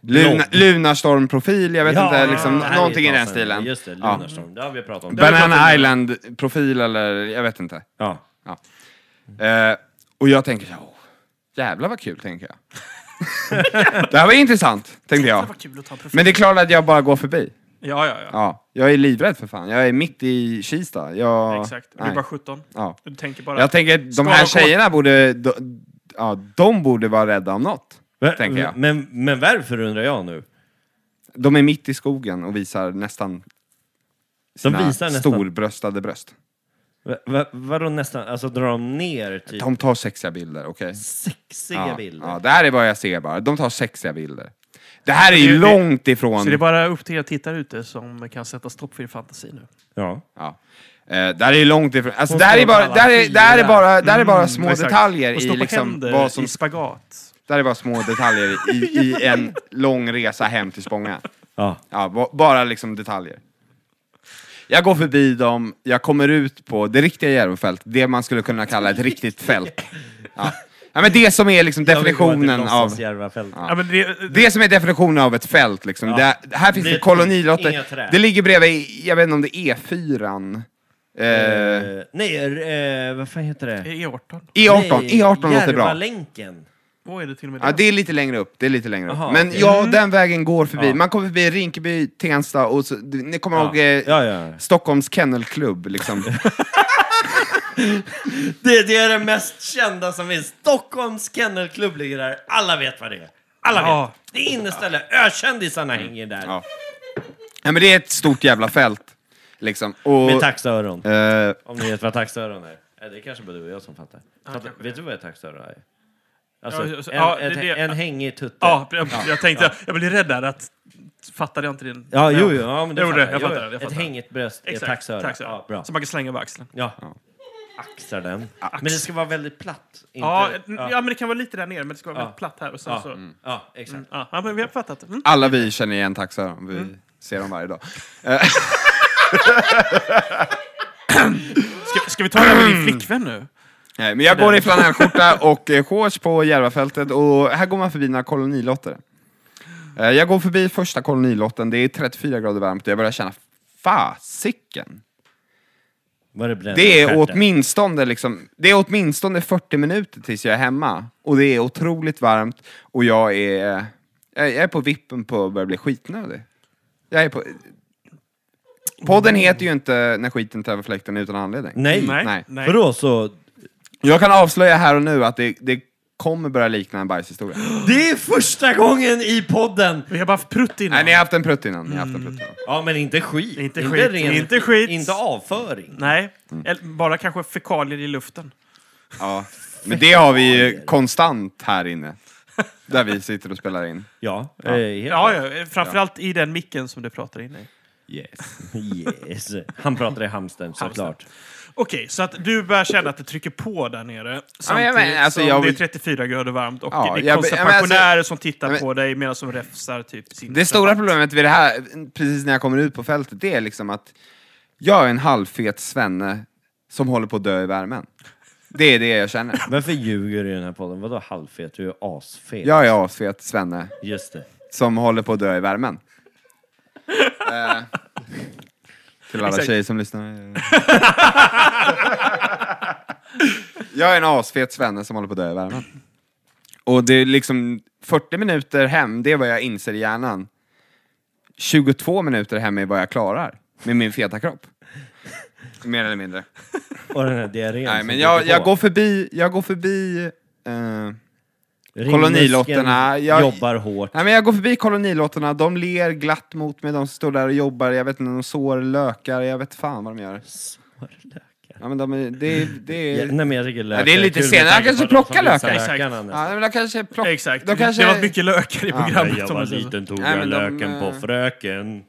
S4: luna,
S3: Blogg.
S4: Lunarstorm-profil, jag vet inte, liksom,
S3: det här är
S4: någonting
S3: ett
S4: i den
S3: tag sedan.
S4: stilen.
S3: Just det,
S4: ja.
S3: Lunarstorm. Det har vi pratat om.
S4: Banana Island-profil eller, jag vet inte.
S3: Ja.
S4: Eh, och jag tänker så här, "Åh, jävlar vad kul, tänker jag. det här var intressant, tänkte jag.
S1: Det var kul att ta profil.
S4: Men det är klart att jag bara går förbi.
S1: Ja, ja, ja.
S4: Ja, jag är livrädd för fan, jag är mitt i Kista. Jag,
S1: Exakt. Du
S4: nej.
S1: är bara 17.
S4: ja.
S1: Du tänker bara...
S4: Jag tänker, de
S1: Skala
S4: här
S1: och kol.
S4: tjejerna borde, de, ja, de borde vara rädda om något. tänker jag.
S3: Men, men varför undrar jag nu?
S4: De är mitt i skogen och visar nästan
S3: De
S4: sina
S3: visar nästan...
S4: storbröstade bröst.
S3: Va, va, vadå nästan? Alltså drar de ner typ
S4: De tar sexiga bilder, okej?
S3: sexiga
S4: Ja,
S3: bilder?
S4: ja, det här är vad jag ser bara. De tar sexiga bilder. Det här är ju
S1: Det- det-
S4: långt ifrån...
S1: Så det är bara upp till er tittare ute som kan sätta stopp för er fantasi nu.
S3: Ja.
S4: ja. Eh, det här är ju långt ifrån... Alltså,
S1: Hon
S4: det här är
S1: står på
S4: bara,
S1: alla
S4: det här är, det här är
S1: fyra.
S4: bara, det här är bara små
S1: Mm, exakt.
S4: detaljer
S1: Och stå
S4: i
S1: på
S4: liksom
S1: händer
S4: vad som...
S1: i spagat.
S4: Det här är bara små detaljer i, i en lång resa hem till Spånga.
S3: ja.
S4: Ja, ba- bara liksom detaljer. Jag går förbi dem, jag kommer ut på det riktiga Järvafält, det man skulle kunna kalla ett riktigt fält. Ja. Ja, men det som är liksom definitionen
S3: typ
S4: av...
S3: Ja.
S1: Ja, men det,
S4: Det som är definitionen av ett fält liksom.
S3: Ja. E
S4: Det, här finns
S3: Det
S4: det,
S3: är inga
S4: kolonilotter.
S3: träd.
S4: Det ligger bredvid, jag vet inte om det är E4. Eh,
S3: nej, eh, vad fan heter det?
S1: är 18.
S4: E E18, E18 låter bra.
S3: Järvalänken.
S1: Vad är det till och med?
S4: Ja,
S1: där?
S4: det är lite längre upp. Det är lite längre upp.
S3: Aha,
S4: Men
S3: okej. Mm.
S4: ja, den vägen går förbi.
S3: Ja.
S4: Man kommer förbi Rinkeby, Tensta och så, du- ni kommer
S3: Ja.
S4: ihåg eh,
S3: Ja, ja.
S4: Stockholms kennelklubb liksom.
S3: Det, det är det mest kända som finns. Stockholms kennelklubb ligger där. Alla vet vad det är. Alla vet.
S1: Ja.
S3: Det är inneställe. Ökändisarna hänger där.
S4: Ja. ja, men det är ett stort jävla fält. Liksom. Och,
S3: Med taxöron.
S4: eh,
S3: Om ni vet vad taxöron är. Ja, Det är kanske bara du och jag som fattar. fattar. Vet du vad ett taxöron är? Alltså,
S1: Ja, så-
S3: en,
S1: ja,
S3: ett,
S1: det- det-
S3: en hängig tutte.
S1: Ja, jag, jag tänkte, jag blev rädd där att... Fattade jag inte din...
S3: Ja, jo, jo. Ja, men det
S1: Jo, det-
S3: fattar
S1: jag
S3: Jo,
S1: fattar, jag
S3: Ett
S1: fattar.
S3: hängigt bröst är
S1: Exakt.
S3: taxöron.
S1: taxöron.
S3: Ja, bra.
S1: Som man kan slänga över axeln.
S3: Ja. Axar den. Men det ska vara väldigt platt. Inte,
S1: Ja, n- ja, men det kan vara lite där nere, men det ska vara
S3: Ja.
S1: väldigt platt här. Och sen
S3: ja,
S1: så,
S3: mm. ja, exakt.
S1: ja. ja, men vi har fattat. Mm.
S4: alla vi känner igen taxöron. Vi ser dem varje dag.
S1: Ska, ska vi ta det här med din flickvän nu?
S4: Nej, Eh, men jag går i flanellskjorta och eh, shorts på Järvafältet och här går man förbi några kolonilotter. Eh, Jag går förbi första kolonilotten, det är 34 grader varmt och jag börjar känna fasiken.
S3: Var det brända
S4: Det är
S3: stjärten?
S4: åtminstone, liksom, det är åtminstone 40 minuter tills jag är hemma. Och det är otroligt varmt och jag är, jag jag är på vippen på att börja bli skitnödig. Jag är på... Podden heter ju inte När skiten träffar fläkten utan anledning. Mm,
S3: Nej.
S1: Nej.
S4: Nej.
S1: Nej.
S3: Vadå så?
S4: Jag kan avslöja här och nu att det, det kommer börja likna en bajshistoria.
S3: Det är första gången i podden!
S1: Vi har bara haft prutt innan.
S4: Nej, ni har haft en prutt innan. Ni har haft en prutt innan.
S3: Ja, men inte skit.
S1: Inte skit. Inte skit.
S3: Inte avföring.
S1: Nej. Eller bara kanske fekalier i luften.
S4: Ja. Men det har vi ju konstant här inne. Där vi sitter och spelar in.
S3: Ja, ja.
S1: Ja, ja framförallt i den micken som du pratar in i.
S4: Yes.
S3: Yes. Han pratar i hamstern såklart.
S1: Okej, så att du börjar känna att det trycker på där nere samtidigt
S4: men, alltså,
S1: som
S4: jag
S1: det är
S4: vill-
S1: 34 grader varmt och
S4: Ja,
S1: det är
S4: jag-
S1: konstiga
S4: ja, men alltså-
S1: pensionärer som tittar
S4: Ja, men-
S1: på dig medan som räfsar typ sin...
S4: Det stora problemet vid det här, precis när jag kommer ut på fältet, det är liksom att jag är en halvfet svenne som håller på att dö i värmen. Det är det jag känner.
S3: Varför ljuger du i den här podden? Vadå halvfet? Du är asfet.
S4: Jag är asfet svenne
S3: Just det.
S4: som håller på att dö i värmen. Eh, till alla
S1: Exakt.
S4: tjejer som lyssnar. jag är en asfet svenne som håller på att dö i värmen. Och det är liksom 40 minuter hem, det är vad jag inser i hjärnan. 22 minuter hem är vad jag klarar med min feta kropp. Mer eller mindre.
S3: Och den här diarrén
S4: Nej,
S3: som
S4: men jag,
S3: sitter
S4: jag
S3: på.
S4: går förbi, jag går förbi eh,
S3: Ringmuskeln
S4: kolonilotterna, jag-
S3: jobbar hårt.
S4: Nej, men jag går förbi kolonilotterna, de ler glatt mot mig, de står där och jobbar, jag vet inte, de sår lökar, jag vet fan vad de gör.
S3: Smörlökar.
S4: Ja, men de, är- det, är- det
S3: Ja,
S4: är...
S3: nej, men jag tycker lökar
S4: det är lite
S3: kul med
S4: senare.
S3: tanke
S4: Jag
S3: på
S4: kanske
S3: de som
S4: plockar
S3: visar
S1: lökar.
S3: lökarna
S4: Ja,
S3: nästan.
S4: men de kanske plock...
S1: Exakt.
S4: De kanske...
S1: Det var mycket lökar i programmet. om man säger så.
S3: tog
S4: Nej, men de, eh,
S3: fröken.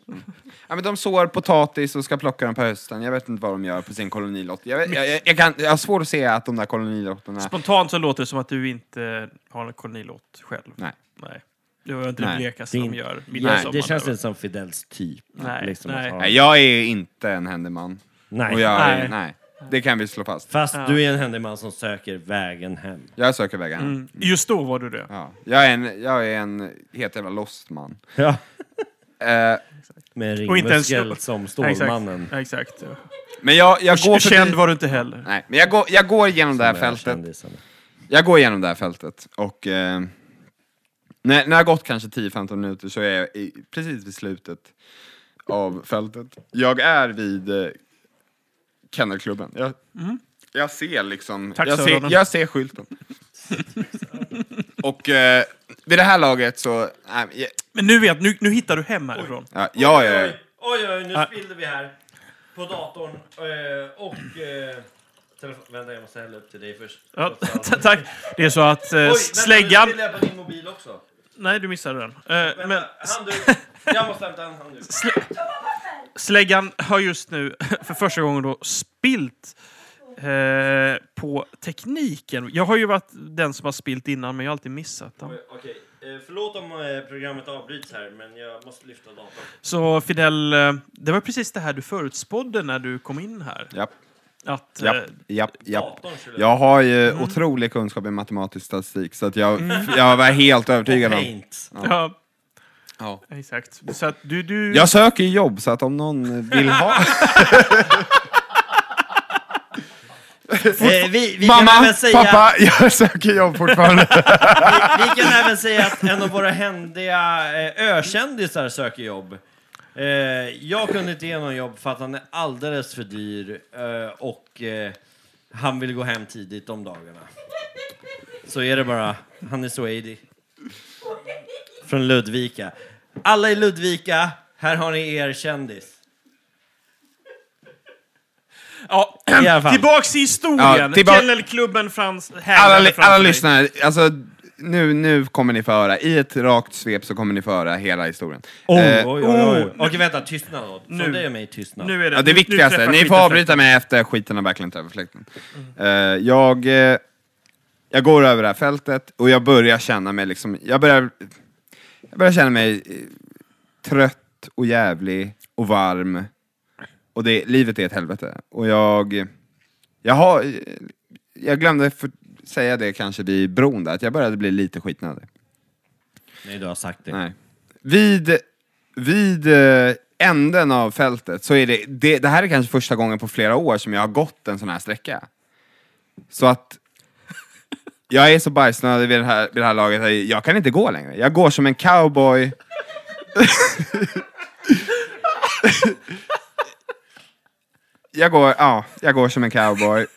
S4: Ja, men de sår potatis och ska plocka dem på hösten, jag vet inte vad de gör på sin kolonilott. Jag, vet, jag, jag, jag, kan, jag har svårt att se att de där kolonilotterna...
S1: Spontant så låter det som att du inte har en kolonilåt själv.
S4: Nej.
S1: Nej. Det var inte
S4: Nej.
S1: det blekaste
S3: Det är
S1: de
S3: inte-
S1: gör.
S3: Nej,
S1: midsommar.
S3: det känns inte som Fidels typ.
S1: Nej,
S3: liksom
S1: nej.
S3: Att ha.
S4: Nej, jag är inte en händig man.
S3: nej.
S4: Och jag,
S1: Nej.
S4: nej. Det kan vi slå fast.
S3: Fast du är en händig man som söker vägen hem.
S4: Jag söker vägen hem.
S1: Mm. Just då var du det.
S4: Ja. Jag, är en, jag är en helt jävla lost man.
S3: Ja.
S4: Eh,
S3: Med en
S1: Och inte ens
S3: ringmuskel som Stålmannen.
S1: Ja, Exakt. exakt.
S4: men jag, jag går
S1: Går
S4: förbi...
S1: Känd var du inte heller.
S4: Nej, men jag går, jag går igenom det här
S3: Med
S4: fältet.
S3: kändisarna.
S4: Jag går igenom det här fältet och eh, när, när jag har gått kanske 10-15 minuter så är jag i, precis vid slutet av fältet. Jag är vid eh, kennelklubben. Jag,
S3: Mm.
S4: jag ser liksom,
S1: Tack,
S4: jag
S1: Sören.
S4: ser, jag ser skylten. och eh, vid det här laget så, nej, men jag-
S1: Men nu vet, nu, nu hittar du hem härifrån.
S4: ja, jag är...
S3: Oj, oj,
S4: Ah.
S3: nu spillde vi här. På datorn eh, och... eh, telefon- Vänta, jag måste hälla upp till dig först.
S1: Ja,
S3: Trots allt.
S1: ta- tack. Det är så att eh,
S3: Oj, vänta,
S1: släggan...
S3: nu spillde jag på din mobil också.
S1: Nej, du missade den. Eh,
S3: Vänta,
S1: men
S3: handduk. Jag måste hämta en handduk.
S1: släggan har just nu för första gången då spilt eh, på tekniken. Jag har ju varit den som har spilt innan, men jag har alltid missat den.
S3: Okej, eh, förlåt om eh, programmet avbryts här, men jag måste lyfta datorn.
S1: Så Fidel, eh, det var precis det här du förutspådde när du kom in här.
S4: Japp,
S1: Att, eh,
S4: japp, japp, japp.
S3: Datorn skulle
S4: Jag har ju
S3: Mm.
S4: otrolig kunskap i matematisk statistik så att jag, jag var helt övertygad om...
S3: Paint.
S1: ja,
S4: Ja.
S1: exakt. Så att du, du...
S4: Jag söker jobb, så att om någon vill ha...
S3: Eh, vi, vi, kan
S4: Mamma,
S3: även säga,
S4: pappa, jag söker jobb fortfarande.
S3: vi kan även säga att en av våra händiga eh, ökändisar söker jobb. Eh, jag kunde inte ge någon jobb för att han är alldeles för dyr eh, och eh, han vill gå hem tidigt om dagarna. Så är det bara. Han är så 80. Från Ludvika. Alla i Ludvika, här har ni er kändis.
S1: Ja,
S3: I alla fall.
S1: tillbaks i historien.
S4: Ja, tillba-
S1: Kennelklubben Frans
S4: Alla,
S1: hängde
S4: li-
S1: framför
S4: alla
S1: dig.
S4: lyssnare, alltså nu, nu kommer ni få höra, i ett rakt svep så kommer ni få höra hela historien. Eh,
S3: oj, oj, oj. Okej, vänta. Tystnad då.
S1: oh. Nu.
S3: Som det är mig tystnad.
S1: Nu är det,
S4: Ja, det
S1: nu- nu
S4: viktigaste.
S1: träffar
S4: Ni får
S1: skiten
S4: avbryta mig efter skiten har verkligen träffat fläkten. Eh, jag, eh, jag går över det här fältet och jag börjar känna mig liksom, jag börjar, jag börjar känna mig eh, trött och jävlig och varm. Och det, livet är ett helvete. Och jag, jag har, eh, jag glömde för, säga det kanske vid bron där, att jag började bli lite skitnödig.
S3: Nej, du har sagt det.
S4: Nej. Vid, vid eh, änden av fältet så är det, det, det här är kanske första gången på flera år som jag har gått en sån här sträcka. Så att jag är så bajsnödig vid det här, vid det här laget, att jag kan inte gå längre. Jag går som en cowboy. jag, går, ja, jag går som en cowboy.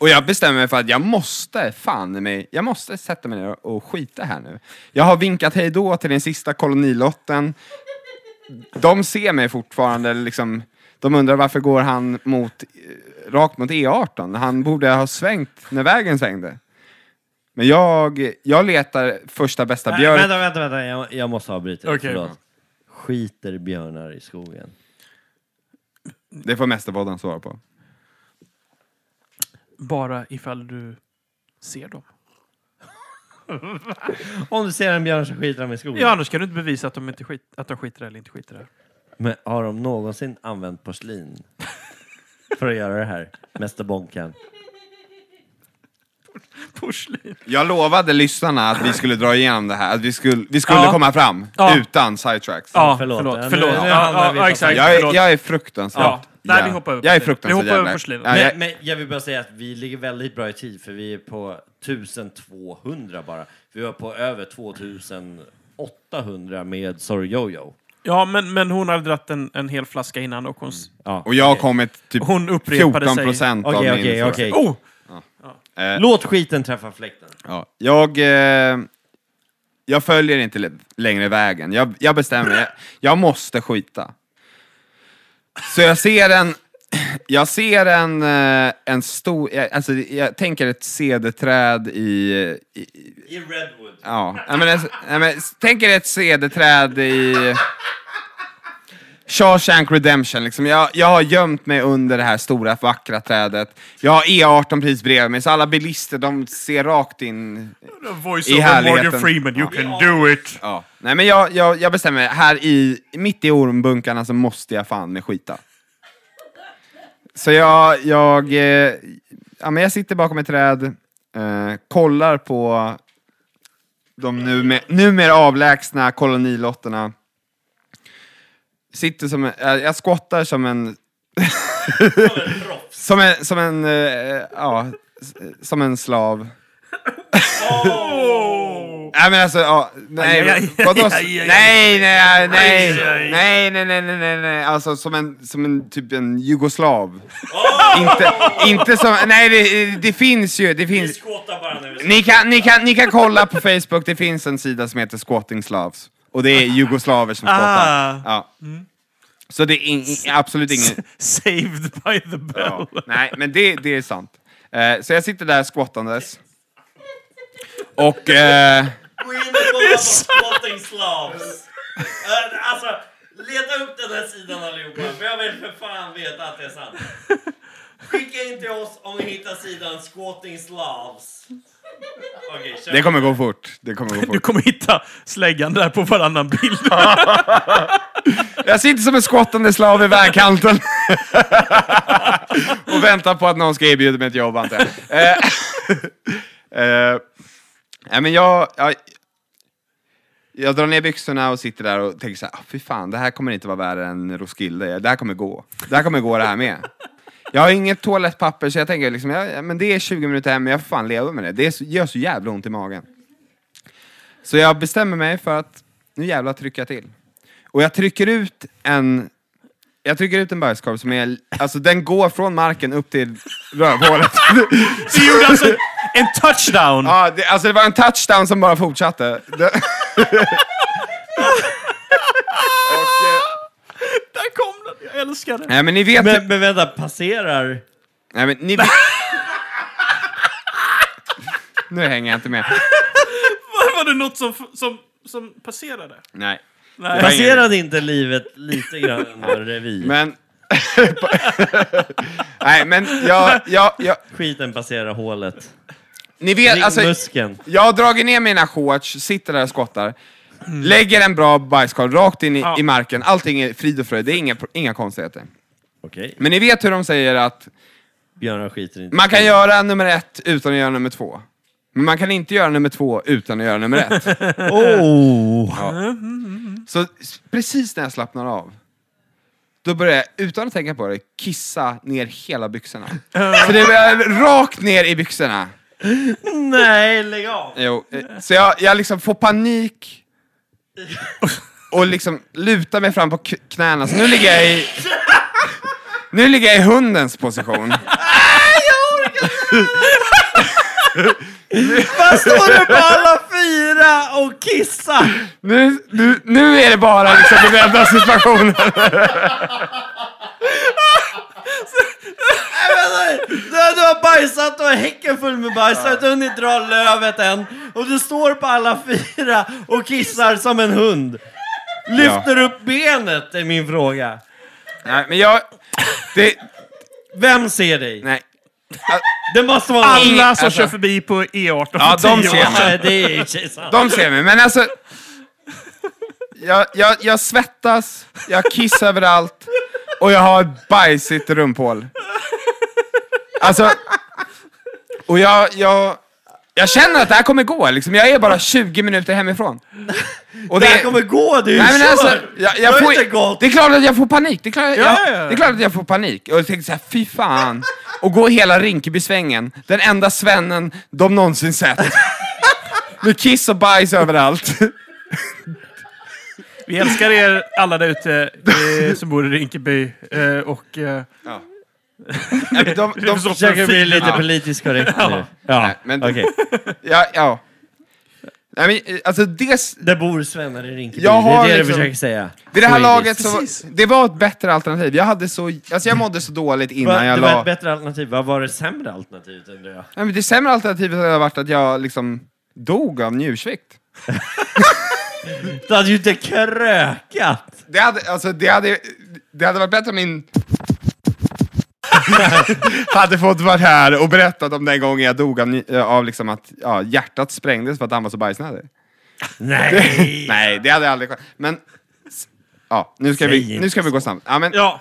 S4: Och jag bestämmer mig för att jag måste, fan i mig, jag måste sätta mig ner och skita här nu. Jag har vinkat hej då till den sista kolonilotten. De ser mig fortfarande, liksom, de undrar varför går han mot, eh, rakt mot E18? Han borde ha svängt när vägen svängde. Men jag, jag letar första bästa
S3: Nej,
S4: björk.
S3: Äh, Vänta, vänta, vänta. Jag, jag måste avbryta.
S1: Okej.
S3: Förlåt. Skiter björnar i skogen?
S4: Det får Mästerpodden svara på.
S1: Bara ifall du ser dem.
S3: Om du ser en björn så skiter de i skogen.
S4: Mm.
S1: Ja, annars kan du inte bevisa att de, inte skit, att de skiter eller inte skiter där.
S3: Men har de någonsin använt porslin för att göra det här? Mäster Bonkan.
S1: Porslin.
S4: Jag lovade lyssnarna att vi skulle dra igenom det här, att vi skulle, vi skulle
S1: Ja.
S4: komma fram
S1: Ja.
S4: utan sidetracks.
S1: Ja,
S3: förlåt.
S1: förlåt.
S3: Ja,
S1: Förlåt.
S3: nu-
S1: förlåt.
S3: nu
S1: Ja,
S3: hamnar
S1: ja,
S3: vi
S1: ja,
S3: på-
S1: exakt.
S4: Jag är,
S1: förlåt.
S4: jag är fruktansvärt
S1: Ja. Nej, vi hoppar över
S4: Jag är
S1: på det. Vi
S4: fruktansvärt
S1: hoppar över
S4: jävla-
S1: på Sliven.
S4: Ja, jag-
S3: Men, men jag vill bara säga att vi ligger väldigt bra i tid för vi är på 1200 bara. Vi var på över 2800 med Sorry Jojo.
S1: Ja, men, men hon hade dratt en, en hel flaska innan och hon... s-
S3: Ja.
S4: Och jag har kommit typ
S1: Hon upprepade
S4: 14
S1: sig.
S4: procent av
S3: Okej,
S4: min
S3: okej,
S4: fråga.
S3: okej.
S1: Oh!
S3: Låt skiten träffa fläkten.
S4: Ja. Jag, eh, jag följer inte le- längre vägen. Jag, jag bestämmer mig. Jag, jag måste skita. Så jag ser en, jag ser en, eh, en stor, jag- alltså jag tänker ett cederträd i, i
S3: I Redwood.
S4: ja, Nej, men, alltså, nej, men, tänker ett cederträd i Shawshank Redemption. Liksom. Jag, jag har gömt mig under det här stora vackra trädet. Jag har E18 precis bredvid mig, så alla bilister de ser rakt in
S1: Voice
S4: I
S1: over
S4: härligheten.
S1: Morgan Freeman, you can do it!
S4: Ja. Nej men jag, jag, jag bestämmer, här i, mitt i ormbunkarna så måste jag fan med skita. Så jag, jag, eh, ja, men jag sitter bakom ett träd, eh, kollar på de numer, numera avlägsna kolonilotterna. Sitter som, en- eh, jag squattar som en... som en, som en, eh, ja, s- som en slav.
S1: Oh!
S4: Nej men alltså, ja,
S1: Aj, aj,
S4: nej,
S1: aj,
S4: vadå?
S1: aj,
S4: Nej,
S1: aj, aj.
S4: nej, nej, nej,
S1: Aj, aj, aj.
S4: nej, nej, nej, nej, nej, nej, alltså som en, som en, typ en jugoslav.
S1: Oh!
S4: Inte, inte som, nej det, det finns ju, det finns.
S3: Skåta bara nu.
S4: Ni kan, ni, kan, ni kan kolla på Facebook, det finns en sida som heter Squatting Slavs. Och det är jugoslaver som
S1: Ah.
S4: skottar. Ja. Så det är in, in, absolut ingen...
S1: Saved by the bell.
S4: Ja. Nej, men det, det är sant. Eh, så jag sitter där squattandes. Och... Eh,
S3: Gå in och kolla på Squatting Slavs. Eh, Alltså, leta upp den här sidan allihopa, för jag vill för fan veta att det är sant. Skicka in till oss om ni hittar sidan Squatting Slavs. Okej, kör.
S4: det kommer gå fort. Det kommer gå
S1: Du
S4: fort.
S1: kommer hitta släggan där på varannan bild.
S4: Jag sitter som en squattande slav i vägkanten. och väntar på att någon ska erbjuda mig ett jobb, antar jag. Eh, eh, Nej, men jag, jag... Jag drar ner byxorna och sitter där och tänker så här, "Ah, fy fan, det här kommer inte vara värre än Roskilde. Det här kommer gå. Det här kommer gå det här med. Jag har inget toalettpapper så jag tänker liksom, ja, ja, men det är 20 minuter hem, men jag får fan leva med det. Det är så, gör så jävla ont i magen. Så jag bestämmer mig för att nu jävla trycker jag till. Och jag trycker ut en jag trycker ut en bajskorv som är, alltså den går från marken upp till rövhålet.
S1: Du gjorde alltså en touchdown!
S4: Ja, det, alltså det var en touchdown som bara fortsatte. Det... Och, eh,
S1: Där kom den! Jag älskar den!
S4: nej men ni vet...
S3: Men, men vänta, passerar...
S4: Nej men ni... nu hänger jag inte med.
S1: Var, var det något som, som, som passerade?
S4: Nej.
S1: Nej.
S4: var ingen-
S3: Passerade inte livet lite grann under revy?
S4: Men... nej men jag, jag, jag...
S3: Skiten passerar hålet.
S4: Ni vet, alltså...
S3: Ringmuskeln.
S4: Jag har dragit ner mina shorts, sitter där och skottar. Lägger en bra bajskorv rakt in i,
S1: Ja.
S4: i marken. Allting är frid och fröjd, det är inga, inga konstigheter.
S3: Okej,
S4: Men ni vet hur de säger att
S3: björnar skiter inte.
S4: man kan göra nummer ett utan att göra nummer två. Men man kan inte göra nummer två utan att göra nummer ett.
S3: Oh.
S4: Så s- precis när jag slappnar av, då börjar jag utan att tänka på det kissa ner hela byxorna. Så det börjar rakt ner i byxorna.
S3: Nej, lägg av!
S4: Jo, eh, så jag, jag liksom får panik och liksom lutar mig fram på k- knäna. Så nu ligger jag i... Nu ligger jag i hundens position.
S3: Vad står du på alla fyra och kissar?
S4: Nu, nu, nu är det bara liksom den enda situationen.
S3: Nej, men, Du, du har bajsat och häcken full med bajs, du har inte hunnit dra lövet än. Och du står på alla fyra och kissar som en hund. Lyfter upp benet är min fråga.
S4: Nej, men jag... Det,
S3: Vem ser dig?
S4: nej.
S3: Det måste vara
S1: Alla som
S4: alltså-
S1: kör förbi på E18
S4: Ja,
S1: för
S4: de
S1: tio år
S4: ser.
S1: sedan.
S3: Ja, det är i och för sig sant.
S4: De ser mig, men alltså... Jag, jag, jag svettas, jag kissar överallt och jag har ett bajsigt rumphål. Alltså... Och jag, jag, jag känner att det här kommer gå. Liksom. Jag är bara 20 minuter hemifrån. Och
S3: Det här kommer gå, du är
S4: Nej,
S3: ju
S4: men alltså,
S3: kört.
S4: jag,
S3: Du
S4: jag
S3: har
S4: får,
S3: inte gått.
S4: det är klart att jag får panik. Det är klart,
S1: Ja, ja,
S4: jag,
S1: ja.
S4: det är klart att jag får panik. Och jag tänkte så här, fy fan. Och gå hela Rinkeby-svängen. Den enda svennen de någonsin sett. Med kiss och bajs överallt.
S1: Vi älskar er alla där ute eh, som bor i Rinkeby eh, och eh,
S4: Nej, men de, de,
S1: så-
S3: Försöker bli lite
S4: Ja.
S3: politiskt korrekt nu. Ja,
S4: Nej, men-
S3: okej.
S4: ja, ja. Nej, men, eh, alltså, det,
S3: Det bor svennar i Rinkeby,
S4: Jag har
S3: det är det du
S4: liksom-
S3: försöker säga.
S4: vid det här laget så,
S1: Precis.
S4: det var ett bättre alternativ. Jag, hade så, alltså, jag mådde så dåligt
S3: Va,
S4: innan
S3: det
S4: jag
S3: var
S4: la...
S3: ett bättre alternativ. Vad var det sämre alternativet undrar jag?
S4: Nej, men det sämre alternativet hade varit att jag liksom dog av njursvikt.
S3: Du hade ju inte krökat!
S4: Det hade, alltså, det hade, det hade varit bättre om min... hade fått vara här och berättat om den gången jag dog av, ny- av liksom att ja, hjärtat sprängdes för att han var så bajsnödig.
S3: Nej!
S4: Nej, det hade jag aldrig Men... s- Ja, nu ska,
S3: Säg
S4: vi,
S3: inte
S4: nu ska vi gå snabbt. Ja, men
S1: ja,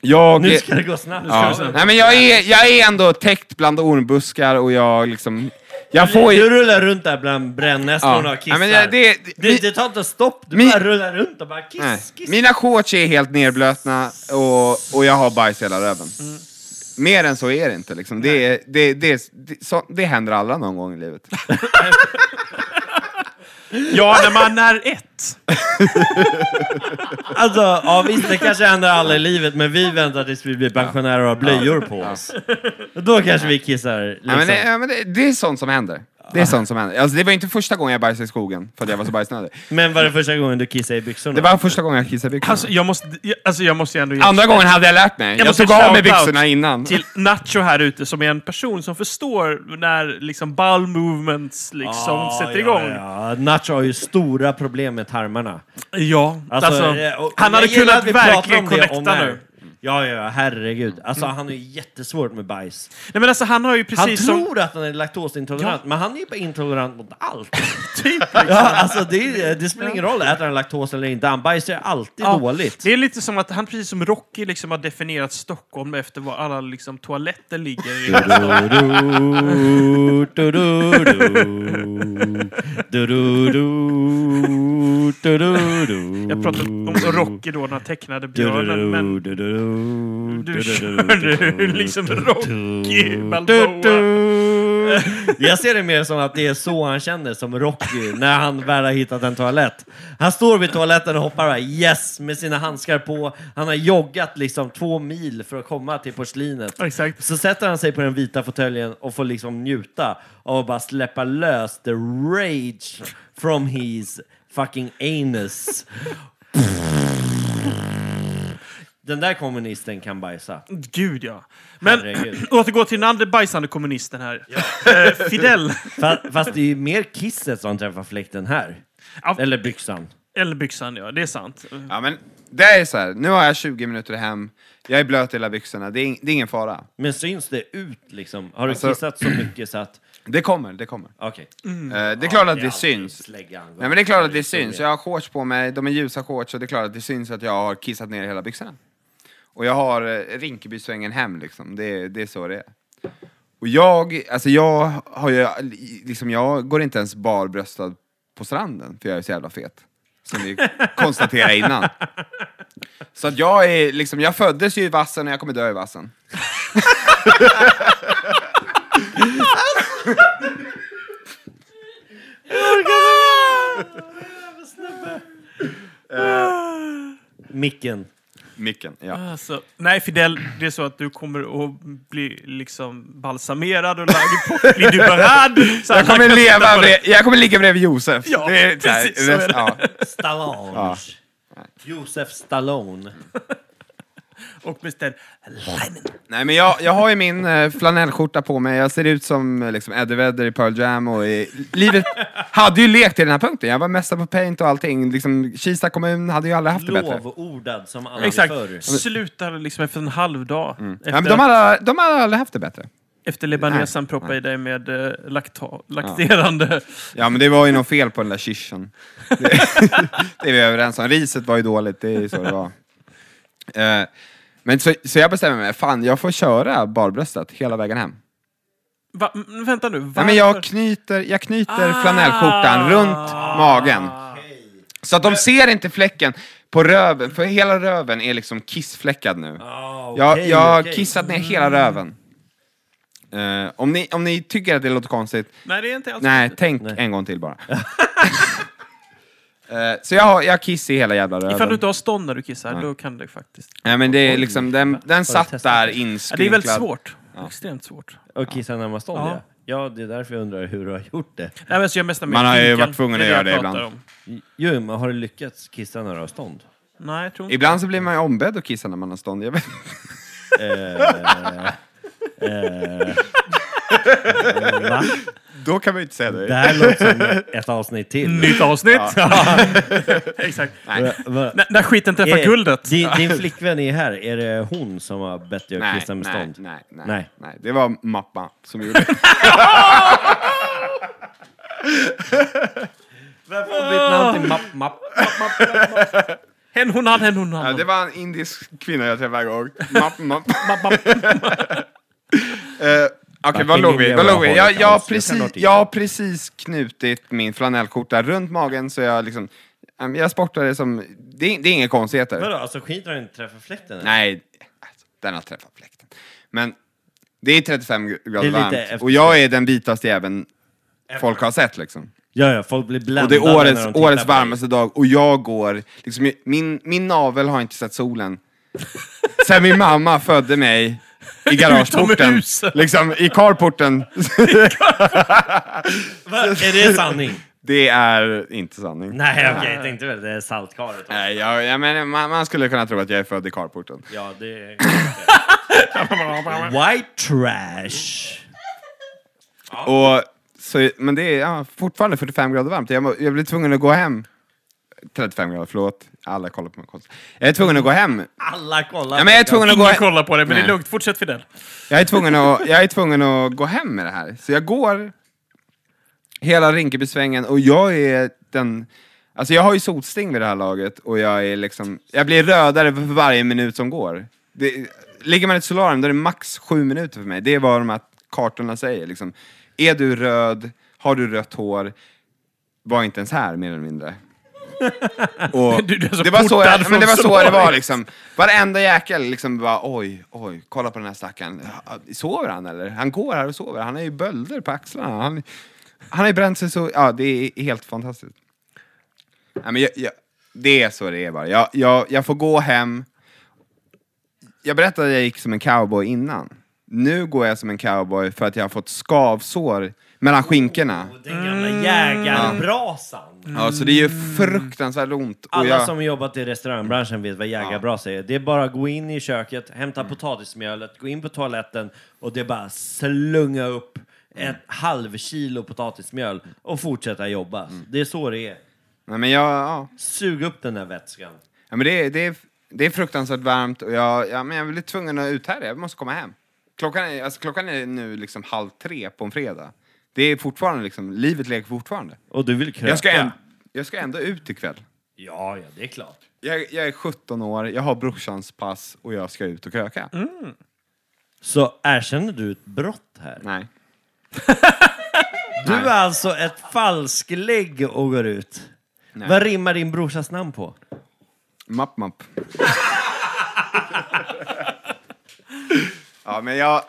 S4: jag...
S3: Nu ska det gå snabbt.
S4: ja. Nej, men jag är, jag är ändå täckt bland ormbuskar och jag liksom... Jag får
S3: Du
S4: ju...
S3: rullar runt där bland brännässlorna och
S4: Nej,
S3: kissar.
S4: men jag- det,
S3: det, det tar inte stopp, du
S4: Min-
S3: bara rullar runt och bara kiss,
S4: Nej.
S3: kiss.
S4: Mina shorts är helt nerblötna och, och jag har bajs i hela röven. Mer än så är det inte. Liksom. Det, är- det, det, det, så, det händer alla någon gång i livet.
S1: ja, när man är ett.
S3: Alltså, ja visst, det kanske händer alla i livet, men vi väntar tills vi blir pensionärer och har blöjor på oss. Då kanske vi kissar liksom.
S4: Ja, men det, ja, men det, det är sånt som händer. Det är sånt som händer. Alltså, det var inte första gången jag bajsade i skogen för att jag var så bajsnödig.
S3: Men var det första gången du kissade i byxorna?
S4: Det var första gången jag kissade i byxorna.
S1: Alltså, jag måste, jag- alltså, jag måste ju ändå ge
S4: Andra gången hade jag lärt mig. Jag,
S1: måste
S4: tog av mig
S1: shout out
S4: byxorna innan.
S1: till Nacho här ute som är en person som förstår när liksom bowel movements liksom
S3: Ja,
S1: sätter
S3: ja,
S1: igång. Ja,
S3: Ja, Nacho har ju stora problem med tarmarna.
S1: alltså,
S3: eh, och-
S1: han hade
S3: jag gillar
S1: kunnat
S3: att vi pratar
S1: verkligen
S3: om det
S1: connecta
S3: on air.
S1: nu.
S3: Ja, ja, ja, herregud. Alltså han har ju jättesvårt med bajs.
S1: Nej, men alltså, han har ju precis
S3: Han
S1: som...
S3: tror att han är laktosintolerant, men han är ju bara intolerant mot allt.
S1: Typ,
S3: Ja, alltså det, det spelar ingen roll, äter han laktos eller inte, han bajsar ju alltid
S1: Ja,
S3: dåligt.
S1: Det är lite som att han precis som Rocky liksom har definierat Stockholm efter var alla liksom, toaletter ligger. i.
S3: Du-du-du, du-du-du, du-du-du, du-du-du.
S1: Jag pratar om Rocky då, den här tecknade björnen. Men
S3: Du-du-du, du-du-du.
S1: Du kör nu liksom Rocky Balboa.
S3: Jag ser det mer som att det är så han känner, som Rocky, när han väl har hittat en toalett. Han står vid toaletten och hoppar bara yes, med sina handskar på. Han har joggat liksom två mil för att komma till porslinet.
S1: Ja, Exakt.
S3: Så sätter han sig på den vita fåtöljen och får liksom njuta av att bara släppa lös the rage from his fucking anus. Den där kommunisten kan bajsa.
S1: Gud, ja. Men
S3: Herregud.
S1: återgå till den andra bajsande kommunisten här. Eh, Fidel.
S3: Fa- Fast det är ju mer kisset som träffar fläkten här.
S1: Ja.
S3: Eller byxan.
S1: Eller byxan, ja. Det är sant.
S4: Ja, men det är så här, nu har jag 20 minuter hem, jag är blöt i hela byxorna, det är, ing- det är ingen fara.
S3: Men syns det ut liksom? Har du
S4: Alltså-
S3: kissat så mycket så att...
S4: Det kommer, det kommer.
S3: Okej.
S4: Eh, det är klart att det syns. Nej men det är klart att det syns. Jag har shorts på mig, de är ljusa shorts och det är klart att det syns att jag har kissat ner hela byxorna. Och jag har eh, Rinkebysvängen hem liksom, det, är- det är så det är. Och jag, alltså jag har ju, liksom jag går inte ens barbröstad på stranden för jag är så jävla fet. Som vi konstaterade innan. Så att jag är liksom, jag föddes ju i vassen och jag kommer dö i vassen.
S3: Micken.
S4: Micken, ja.
S1: Alltså, nej, Fidel, det är så att du kommer att bli liksom balsamerad och lagd på... Blir du beredd? Så
S4: Jag
S1: alla
S4: kommer,
S1: kan titta
S4: leva
S1: på dig.
S4: bredvid- jag kommer ligga bredvid Josef.
S1: Ja,
S4: så här,
S1: precis, så är det.
S4: Ja.
S3: Stallone. Josef Stallone.
S1: Och beställ Lennon.
S4: Nej, men jag, jag har ju min eh, flanellskjorta på mig. Jag ser ut som eh, liksom, Eddie Vedder i Pearl Jam. Och i, livet hade ju lekt till den här punkten. Jag var mästare på paint och allting. Liksom, Kista kommun hade ju aldrig haft det bättre.
S3: Lovordad som aldrig
S1: Exakt.
S3: förr.
S1: Slutade liksom efter en halv dag. Efter,
S4: Mm. Ja, men de, hade, de hade aldrig haft det bättre.
S1: efter libanesen proppade i dig med eh, lakta, lakterande...
S4: Ja, men det var ju något fel på den där kirschen. Det, det är vi överens om. Riset var ju dåligt, det är ju så det var. Eh, men så, så jag bestämmer mig, fan jag får köra barbröstat hela vägen hem.
S1: Va, men vänta nu, varför?
S4: Nej, men jag knyter, jag knyter flanellskjortan runt magen. Så att de ser inte fläcken på röven, för hela röven är liksom kissfläckad nu.
S3: Ah,
S4: Jag,
S3: okej,
S4: jag har
S3: okej.
S4: kissat ner hela röven. Eh, om, ni, om ni tycker att det låter konstigt,
S1: Alltså, Nej, det är inte alls
S4: nej, tänk en gång till bara. Eh, så jag har, jag har kiss i hela jävla röven.
S1: Ifall du inte har stånd när du kissar, då kan det faktiskt...
S4: Nej, men det är liksom, den, den satt
S3: testat
S4: där
S3: det?
S1: Ja, det är
S4: inskrynklad.
S1: väldigt svårt. Extremt svårt.
S3: Och kissa närmast stånd,
S1: Ja.
S3: ja. Ja, det är därför jag undrar hur du har gjort det.
S1: Nej, men så jag mest med
S4: Man har ju
S1: vinkeln.
S4: varit tvungen
S1: är
S4: att göra
S1: jag
S4: det
S1: pratar
S4: ibland.
S1: om.
S3: Jo, men har du lyckats kissa när du har stånd?
S1: Nej, jag tror inte.
S4: Ibland så blir man ju ombedd att kissa när man har stånd. Jag vet.
S3: Eh, eh, Va?
S4: Då kan man ju inte säga
S3: Det här låter som ett avsnitt till.
S1: Nytt avsnitt! Exakt.
S3: Va- va-
S1: N- när skiten träffar
S4: Eh,
S3: Är-
S1: guldet.
S3: Din, din flickvän är här. Är det hon som har bett dig att
S4: Nej,
S3: kissa med
S4: nej,
S3: stånd?
S4: nej, nej,
S3: Nej.
S4: nej. Det var Mappa som gjorde det.
S3: Varför
S1: Ah.
S3: har hon bytt namn till Mapp, Mapp?
S1: Hen hon han, hen hon
S4: Ja,
S1: han.
S4: det var en indisk kvinna jag träffade en gång. Mapp, mapp.
S1: Mapp, mapp.
S4: Eh, Okej,
S3: Fucking
S4: vad låg vi? Vad
S3: elever
S4: låg vi?
S3: har
S4: Jag,
S3: det
S4: jag, har
S3: kaos. Jag
S4: precis,
S3: kan
S4: jag har precis knutit min flanellskjorta runt magen så jag liksom... ja, men Jag sportar det som... Det är, det är inga konstigheter.
S3: Vadå, alltså skiter han inte träffar fläkten? eller?
S4: Nej, alltså, den har träffat fläkten. Men det är 35 grader
S3: lite
S4: varmt
S3: efter-
S4: och jag är den vitaste jäveln folk har sett liksom.
S3: Ja, ja, folk blir
S4: Och
S3: bländade
S4: det är årets,
S3: när de tittar
S4: årets
S3: på dig.
S4: varmaste dag och jag går, liksom, min, min navel har inte sett solen. Sen min mamma födde mig i garageporten.
S1: Utomhus.
S4: liksom i carporten.
S3: Va? Är det sanning?
S4: Det är inte sanning. Nej,
S3: Nej, okej, jag tänkte väl det är saltkaret.
S4: jag, jag menar, man, man skulle kunna tro att jag är född i carporten.
S3: Ja, det är... White trash.
S4: Och, så, men det är ja, fortfarande 45 grader varmt. Jag, må- jag blir tvungen att gå hem. 35 grader, förlåt. Alla kollar på mig konstigt. Jag är tvungen att gå hem.
S3: Alla kollar.
S4: Ja, men jag är tvungen att gå
S1: Ingen
S4: hem.
S1: kollar på det, men det är
S4: Nej.
S1: lugnt. Fortsätt Fidel.
S4: Jag är, tvungen att, jag är tvungen att gå hem med det här. Så jag går hela Rinkebysvängen och jag är den... Alltså jag har ju sotsting vid det här laget och jag är liksom... Jag blir rödare för varje minut som går. Det, ligger man i ett solarium då är det max sju minuter för mig. Det är vad de här kartorna säger. Liksom. Är du röd? Har du rött hår? Var inte ens här mer eller mindre. Och
S1: Du, du är så
S4: det var så,
S1: portad
S4: jag, men
S1: från
S4: det var så det
S1: Solaris.
S4: var liksom. Varenda jäkel liksom bara oj, oj, kolla på den här stackaren. Sover han eller? Han går här och sover. Han har ju bölder på axlarna. Han, han har ju bränt sig så, ja det är helt fantastiskt. Nej, men jag, jag, det är så det är bara. Jag, jag, jag får gå hem. Jag berättade att jag gick som en cowboy innan. Nu går jag som en cowboy för att jag har fått skavsår mellan skinkorna.
S3: Den gamla jägarbrasan.
S4: Ja, så det är ju fruktansvärt ont. Och
S3: Mm. Alla
S4: jag,
S3: som jobbat i restaurangbranschen vet vad jägarbrasa är. Det är bara att gå in i köket, hämta
S4: Mm.
S3: potatismjölet, gå in på toaletten och det är bara att slunga upp
S4: Mm.
S3: ett halvkilo potatismjöl och fortsätta jobba.
S4: Mm.
S3: Det är så det är.
S4: nej, men jag, ja.
S3: Sug upp den där vätskan.
S4: Ja, men det, är- det, är- det är fruktansvärt varmt och jag, ja, men jag blir tvungen att uthärda. Jag måste komma hem. Klockan är, alltså, klockan är nu liksom halv tre på en fredag. Det är fortfarande liksom, livet leker fortfarande.
S3: Och du vill kröka?
S4: Jag ska, änd- jag ska ändå ut ikväll.
S3: Ja, ja, det är klart.
S4: Jag, jag är 17 år, jag har brorsans pass och jag ska ut och kröka.
S3: Så erkänner du ett brott här?
S4: Nej.
S3: Du
S4: Nej.
S3: är alltså ett falsklägg och går ut. Vad rimmar din brorsas namn på?
S4: Mapp, mapp. ja, men jag...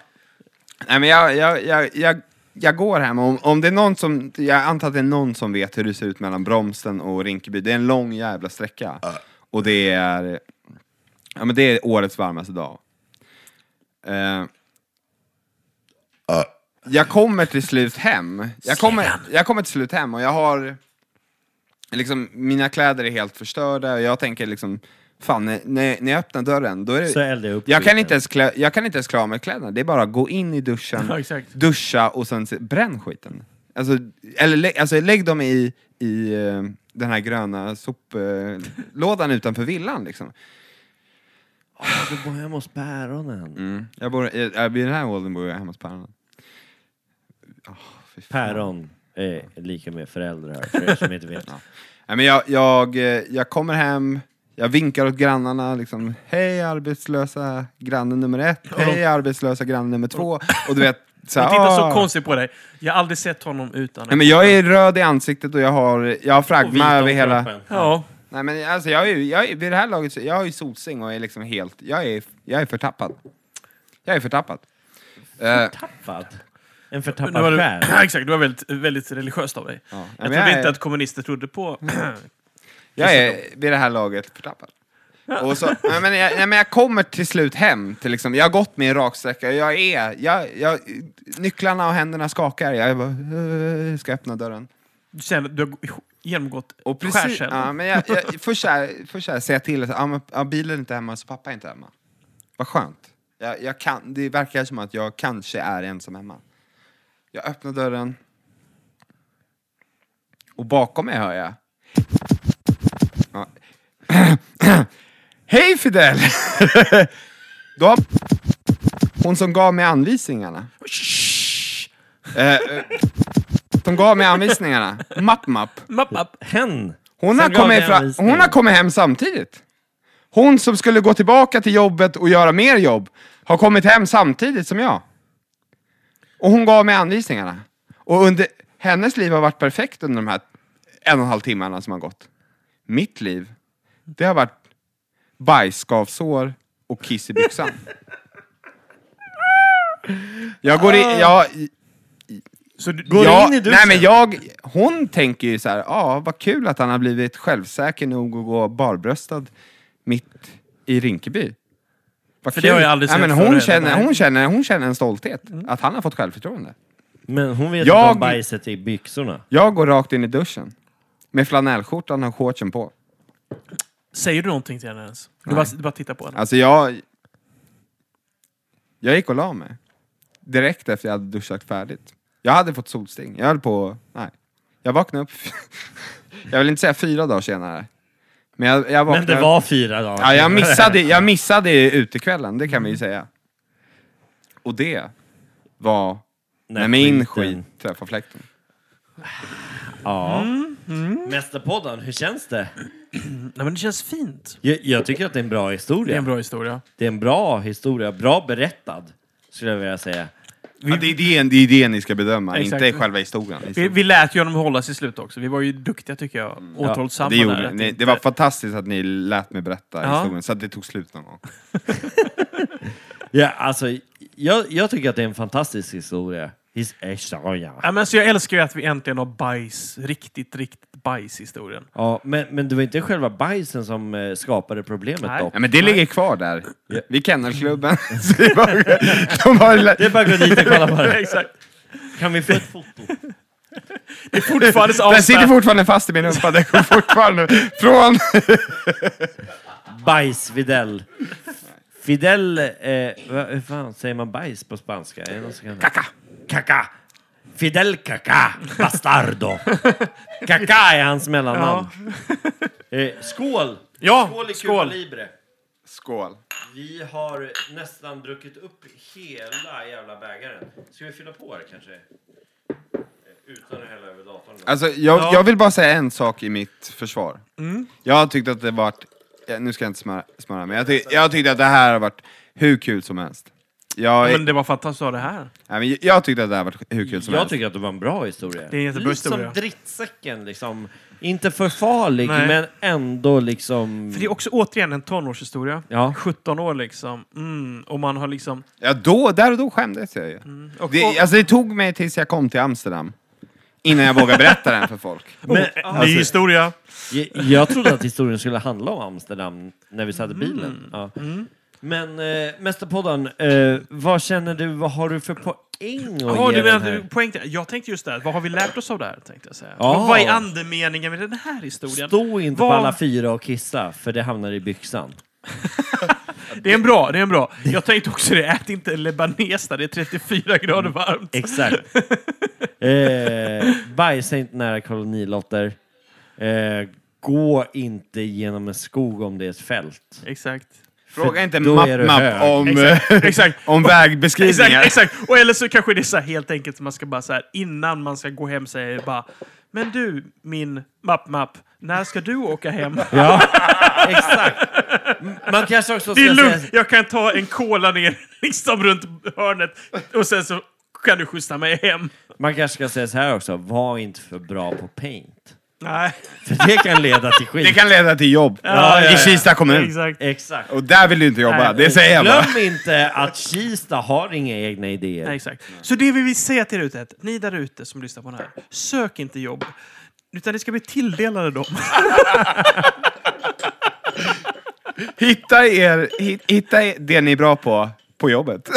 S4: Nej, men jag, jag, jag, jag, jag går hem. Om, om det är någon som... Jag antar att det är någon som vet hur det ser ut mellan Bromsten och Rinkeby. Det är en lång jävla sträcka. Och det är... Ja, men det är årets varmaste dag. Eh, jag kommer till slut hem. Jag kommer, jag kommer till slut hem och jag har liksom, mina kläder är helt förstörda och jag tänker liksom, fan när- när, när jag öppnar dörren, då är det...
S3: Så eldar jag upp
S4: jag, kan
S3: skiten.
S4: inte ens klä, jag kan inte ens klä av mig kläderna, det är bara att gå in i duschen,
S1: Ja, exakt.
S4: duscha och sen se, bränn skiten. Alltså, eller, lä- alltså lägg dem i, i eh, den här gröna soplådan utanför villan liksom.
S3: Du bor hemma hos päronen.
S4: Mm. Jag bor, i- eh, vid den här åldern bor jag hemma hos päronen. Ah, fy fan.
S3: Päron är eh, lika med föräldrar, för er som inte vet.
S4: Nej, men jag, jag, eh, jag kommer hem, jag vinkar åt grannarna liksom, hej arbetslösa granne nummer ett, hej arbetslösa granne nummer två. Och du vet, så
S1: Han
S4: här,
S1: tittar
S4: "Ah."
S1: så konstigt på dig. Jag har aldrig sett honom utan
S4: Nej, men jag är röd i ansiktet och jag har, jag har fragma över hela...
S1: Ja,
S4: Nej men alltså jag är ju, jag är, vid det här laget, så- jag har ju solsing och är liksom helt, jag är, jag är förtappad. Jag är förtappad. Eh,
S3: Tappad?
S1: men det var,
S3: En förtappad
S1: ja,
S3: själ?
S1: exakt. Det var väldigt, väldigt religiöst av dig.
S4: Ja,
S1: Jag
S4: men
S1: trodde
S4: jag
S1: inte
S4: är-
S1: att kommunister trodde på...
S4: Jag är vid det här laget förtappad. Och så, nej, men jag, nej, men jag kommer till slut hem. Till liksom, jag har gått min raksträcka. Jag är, jag, jag, nycklarna och händerna skakar. Jag bara, eh, ska öppna dörren.
S1: du känner att du har genomgått
S4: Och precis,
S1: skärselden.
S4: ja, men jag, jag, först, så här, först så här säger jag till att ah, men, ah, bilen är inte hemma så pappa är inte hemma. Vad skönt. Jag, jag kan, det verkar som att jag kanske är ensam hemma. Jag öppnar dörren. Och bakom mig hör jag. Ja. Hej Fidel! Då har hon som gav mig anvisningarna. Eh, eh, som gav mig anvisningarna. Mapp, mapp.
S1: Mapp, mapp.
S3: Hen!
S4: Hon har,
S3: Som gav
S4: kommit
S3: dig
S4: fra,
S3: anvisningar.
S4: hon har kommit hem samtidigt. Hon som skulle gå tillbaka till jobbet och göra mer jobb har kommit hem samtidigt som jag. Och hon gav mig anvisningarna. Och under, hennes liv har varit perfekt under de här en och en halv timmarna som har gått. Mitt liv, det har varit bajsskavsår och kiss i byxan. Jag går in, jag,
S1: Så du,
S3: Går
S4: Ja,
S3: in i duschen?
S4: Nej, men jag, hon tänker ju så här, ja, vad kul att han har blivit självsäker nog att gå barbröstad mitt i Rinkeby. Vad
S1: För det
S4: kul.
S1: har jag aldrig
S4: Nej,
S1: sett förr
S4: men hon,
S1: heller.
S4: känner,
S1: Nej.
S4: hon, känner, hon känner en stolthet, att han har fått självförtroende.
S3: Men hon vet
S4: Jag-
S3: inte om bajset i byxorna.
S4: Jag går rakt in i duschen, med flanellskjortan och shortsen på.
S1: Säger du någonting till henne ens? Du bara, du bara tittar på henne.
S4: Alltså jag... Jag gick och la mig. Direkt efter jag hade duschat färdigt. Jag hade fått solsting. Jag höll på... Nej. Jag vaknade upp... jag vill inte säga fyra dagar senare. Men jag,
S3: Men
S4: jag vaknade...
S3: det var fyra dagar.
S4: Ja, jag missade, jag missade utekvällen, det kan vi ju säga. Och det var när, min
S3: skiten-
S4: skit träffade fläkten.
S3: Ja. Mästerpodden, hur känns det?
S1: Nej, men det känns fint.
S3: Jag, jag tycker att det är en bra
S1: Det är
S3: historia.
S1: en bra historia.
S3: Det är en bra historia, bra berättad, skulle jag vilja säga.
S4: Ja, det, är det, det är det ni ska bedöma,
S1: Exakt.
S4: inte själva historien. liksom.
S1: Vi, vi lät ju honom hålla sig i slut också. Vi var ju duktiga tycker jag. Återhållsamma
S4: Mm.
S1: där,
S4: det, gjorde,
S1: att
S4: ni,
S1: inte-
S4: det var fantastiskt att ni lät mig berätta
S1: Ja.
S4: historien, så att det tog slut någon gång.
S3: Ja, alltså, jag, jag tycker att det är en fantastisk historia. His eh, historia.
S1: Ja, men så jag älskar ju att vi äntligen har bajs. Riktigt, riktigt bajs i historien.
S3: Ja, men, men det var inte själva bajsen som eh, skapade problemet
S1: Nej.
S3: dock.
S4: Ja, men det ligger kvar där, vid kennelklubben. Så det är bara- de har-
S3: Det är bara att gå dit och kolla på det.
S1: Exakt.
S3: Kan vi få ett foto?
S1: Fortfarande så
S4: Den sitter
S1: avspänd.
S4: fortfarande fast i min rumpa, den går fortfarande från...
S3: Bajs Fidel. Fidel, eh, vad, hur fan säger man bajs på spanska? Är det någon som kan... Kaka! Kaka! Fidel Kaka, bastardo. Kaka är hans mellannamn. Eh, skål!
S1: Ja,
S3: i Cuba
S1: skål.
S3: Libre.
S4: Skål.
S3: Vi har nästan druckit upp hela jävla bägaren. Ska vi fylla på här kanske? Eh, Utan att hälla över datorn.
S4: Alltså, jag, jag vill bara säga en sak i mitt försvar.
S3: Mm.
S4: Jag har tyckt att det varit... ja, Nu ska jag inte smöra, smöra men jag, tyck, jag tyckte att det här har varit hur kul som helst. Jag,
S1: Men det var fantastiskt att ha det här.
S4: nej, men jag tyckte att det här har varit hur kul som
S3: Jag
S4: helst.
S3: tycker att det var en bra historia.
S1: Det är en jättebra
S3: Lite
S1: historia.
S3: som drittsäcken liksom. Inte för farlig,
S1: Nej.
S3: men ändå liksom...
S1: För det är också återigen en tonårshistoria.
S3: Ja.
S1: 17 år liksom. Mm. Och man har liksom...
S4: Ja, då, där och då skämdes jag ju.
S3: Mm,
S1: Och,
S4: Det, alltså, det tog mig tills jag kom till Amsterdam. Innan jag vågade berätta den för folk.
S3: Men, eh, alltså,
S1: ny historia.
S3: jag, jag trodde att historien skulle handla om Amsterdam när vi
S1: Mm.
S3: satt i bilen. Ja. Men eh, Mästerpodden, eh, vad känner du, vad har du för poäng att
S1: Jaha,
S3: ge
S1: du
S3: den
S1: menar
S3: här?
S1: att poäng till, Jag tänkte just det, här, vad har vi lärt oss av det här? Tänkte jag säga.
S3: Ja.
S1: Vad- Vad är andemeningen med den här historien?
S3: Stå inte
S1: Vad-
S3: på alla fyra och kissa, för det hamnar i byxan.
S1: Det är en bra, det är en bra. Jag tänkte också det, ät inte lebanes där det är 34 grader varmt.
S3: Exakt. eh, bajsa inte nära kolonilotter. Eh, gå inte genom en skog om det är ett fält.
S1: Exakt.
S4: Fråga inte
S3: då är du
S4: MapMap
S3: hög.
S4: om,
S1: Exakt, exakt.
S4: om
S1: Exakt,
S4: vägbeskrivningar.
S1: exakt. Och eller så kanske det är så här, helt enkelt att man ska bara så här innan man ska gå hem säga bara Men du, min mapp-mapp, när ska du åka hem?
S3: Ja, exakt. M- Man kanske också
S1: Det
S3: ska
S1: är
S3: säga...
S1: lugnt, jag kan ta en cola ner liksom runt hörnet och sen så kan du skjutsa mig hem.
S3: Man kanske ska säga så här också, var inte för bra på paint.
S1: Nej,
S3: För det kan leda till skit.
S4: Det kan leda till jobb
S1: Ja, ja,
S4: i
S1: ja.
S4: Kista kommun.
S1: exakt.
S3: Exakt.
S4: Och där vill du inte jobba,
S1: Nej.
S4: det säger jag bara.
S3: Glöm inte att Kista har inga egna idéer.
S1: Nej, exakt. Så det vi vill säga till er ute är att ni där ute som lyssnar på den här, sök inte jobb. Utan ni ska bli tilldelade dem.
S4: Hitta, er, hit- hitta er- det ni är bra på, på jobbet.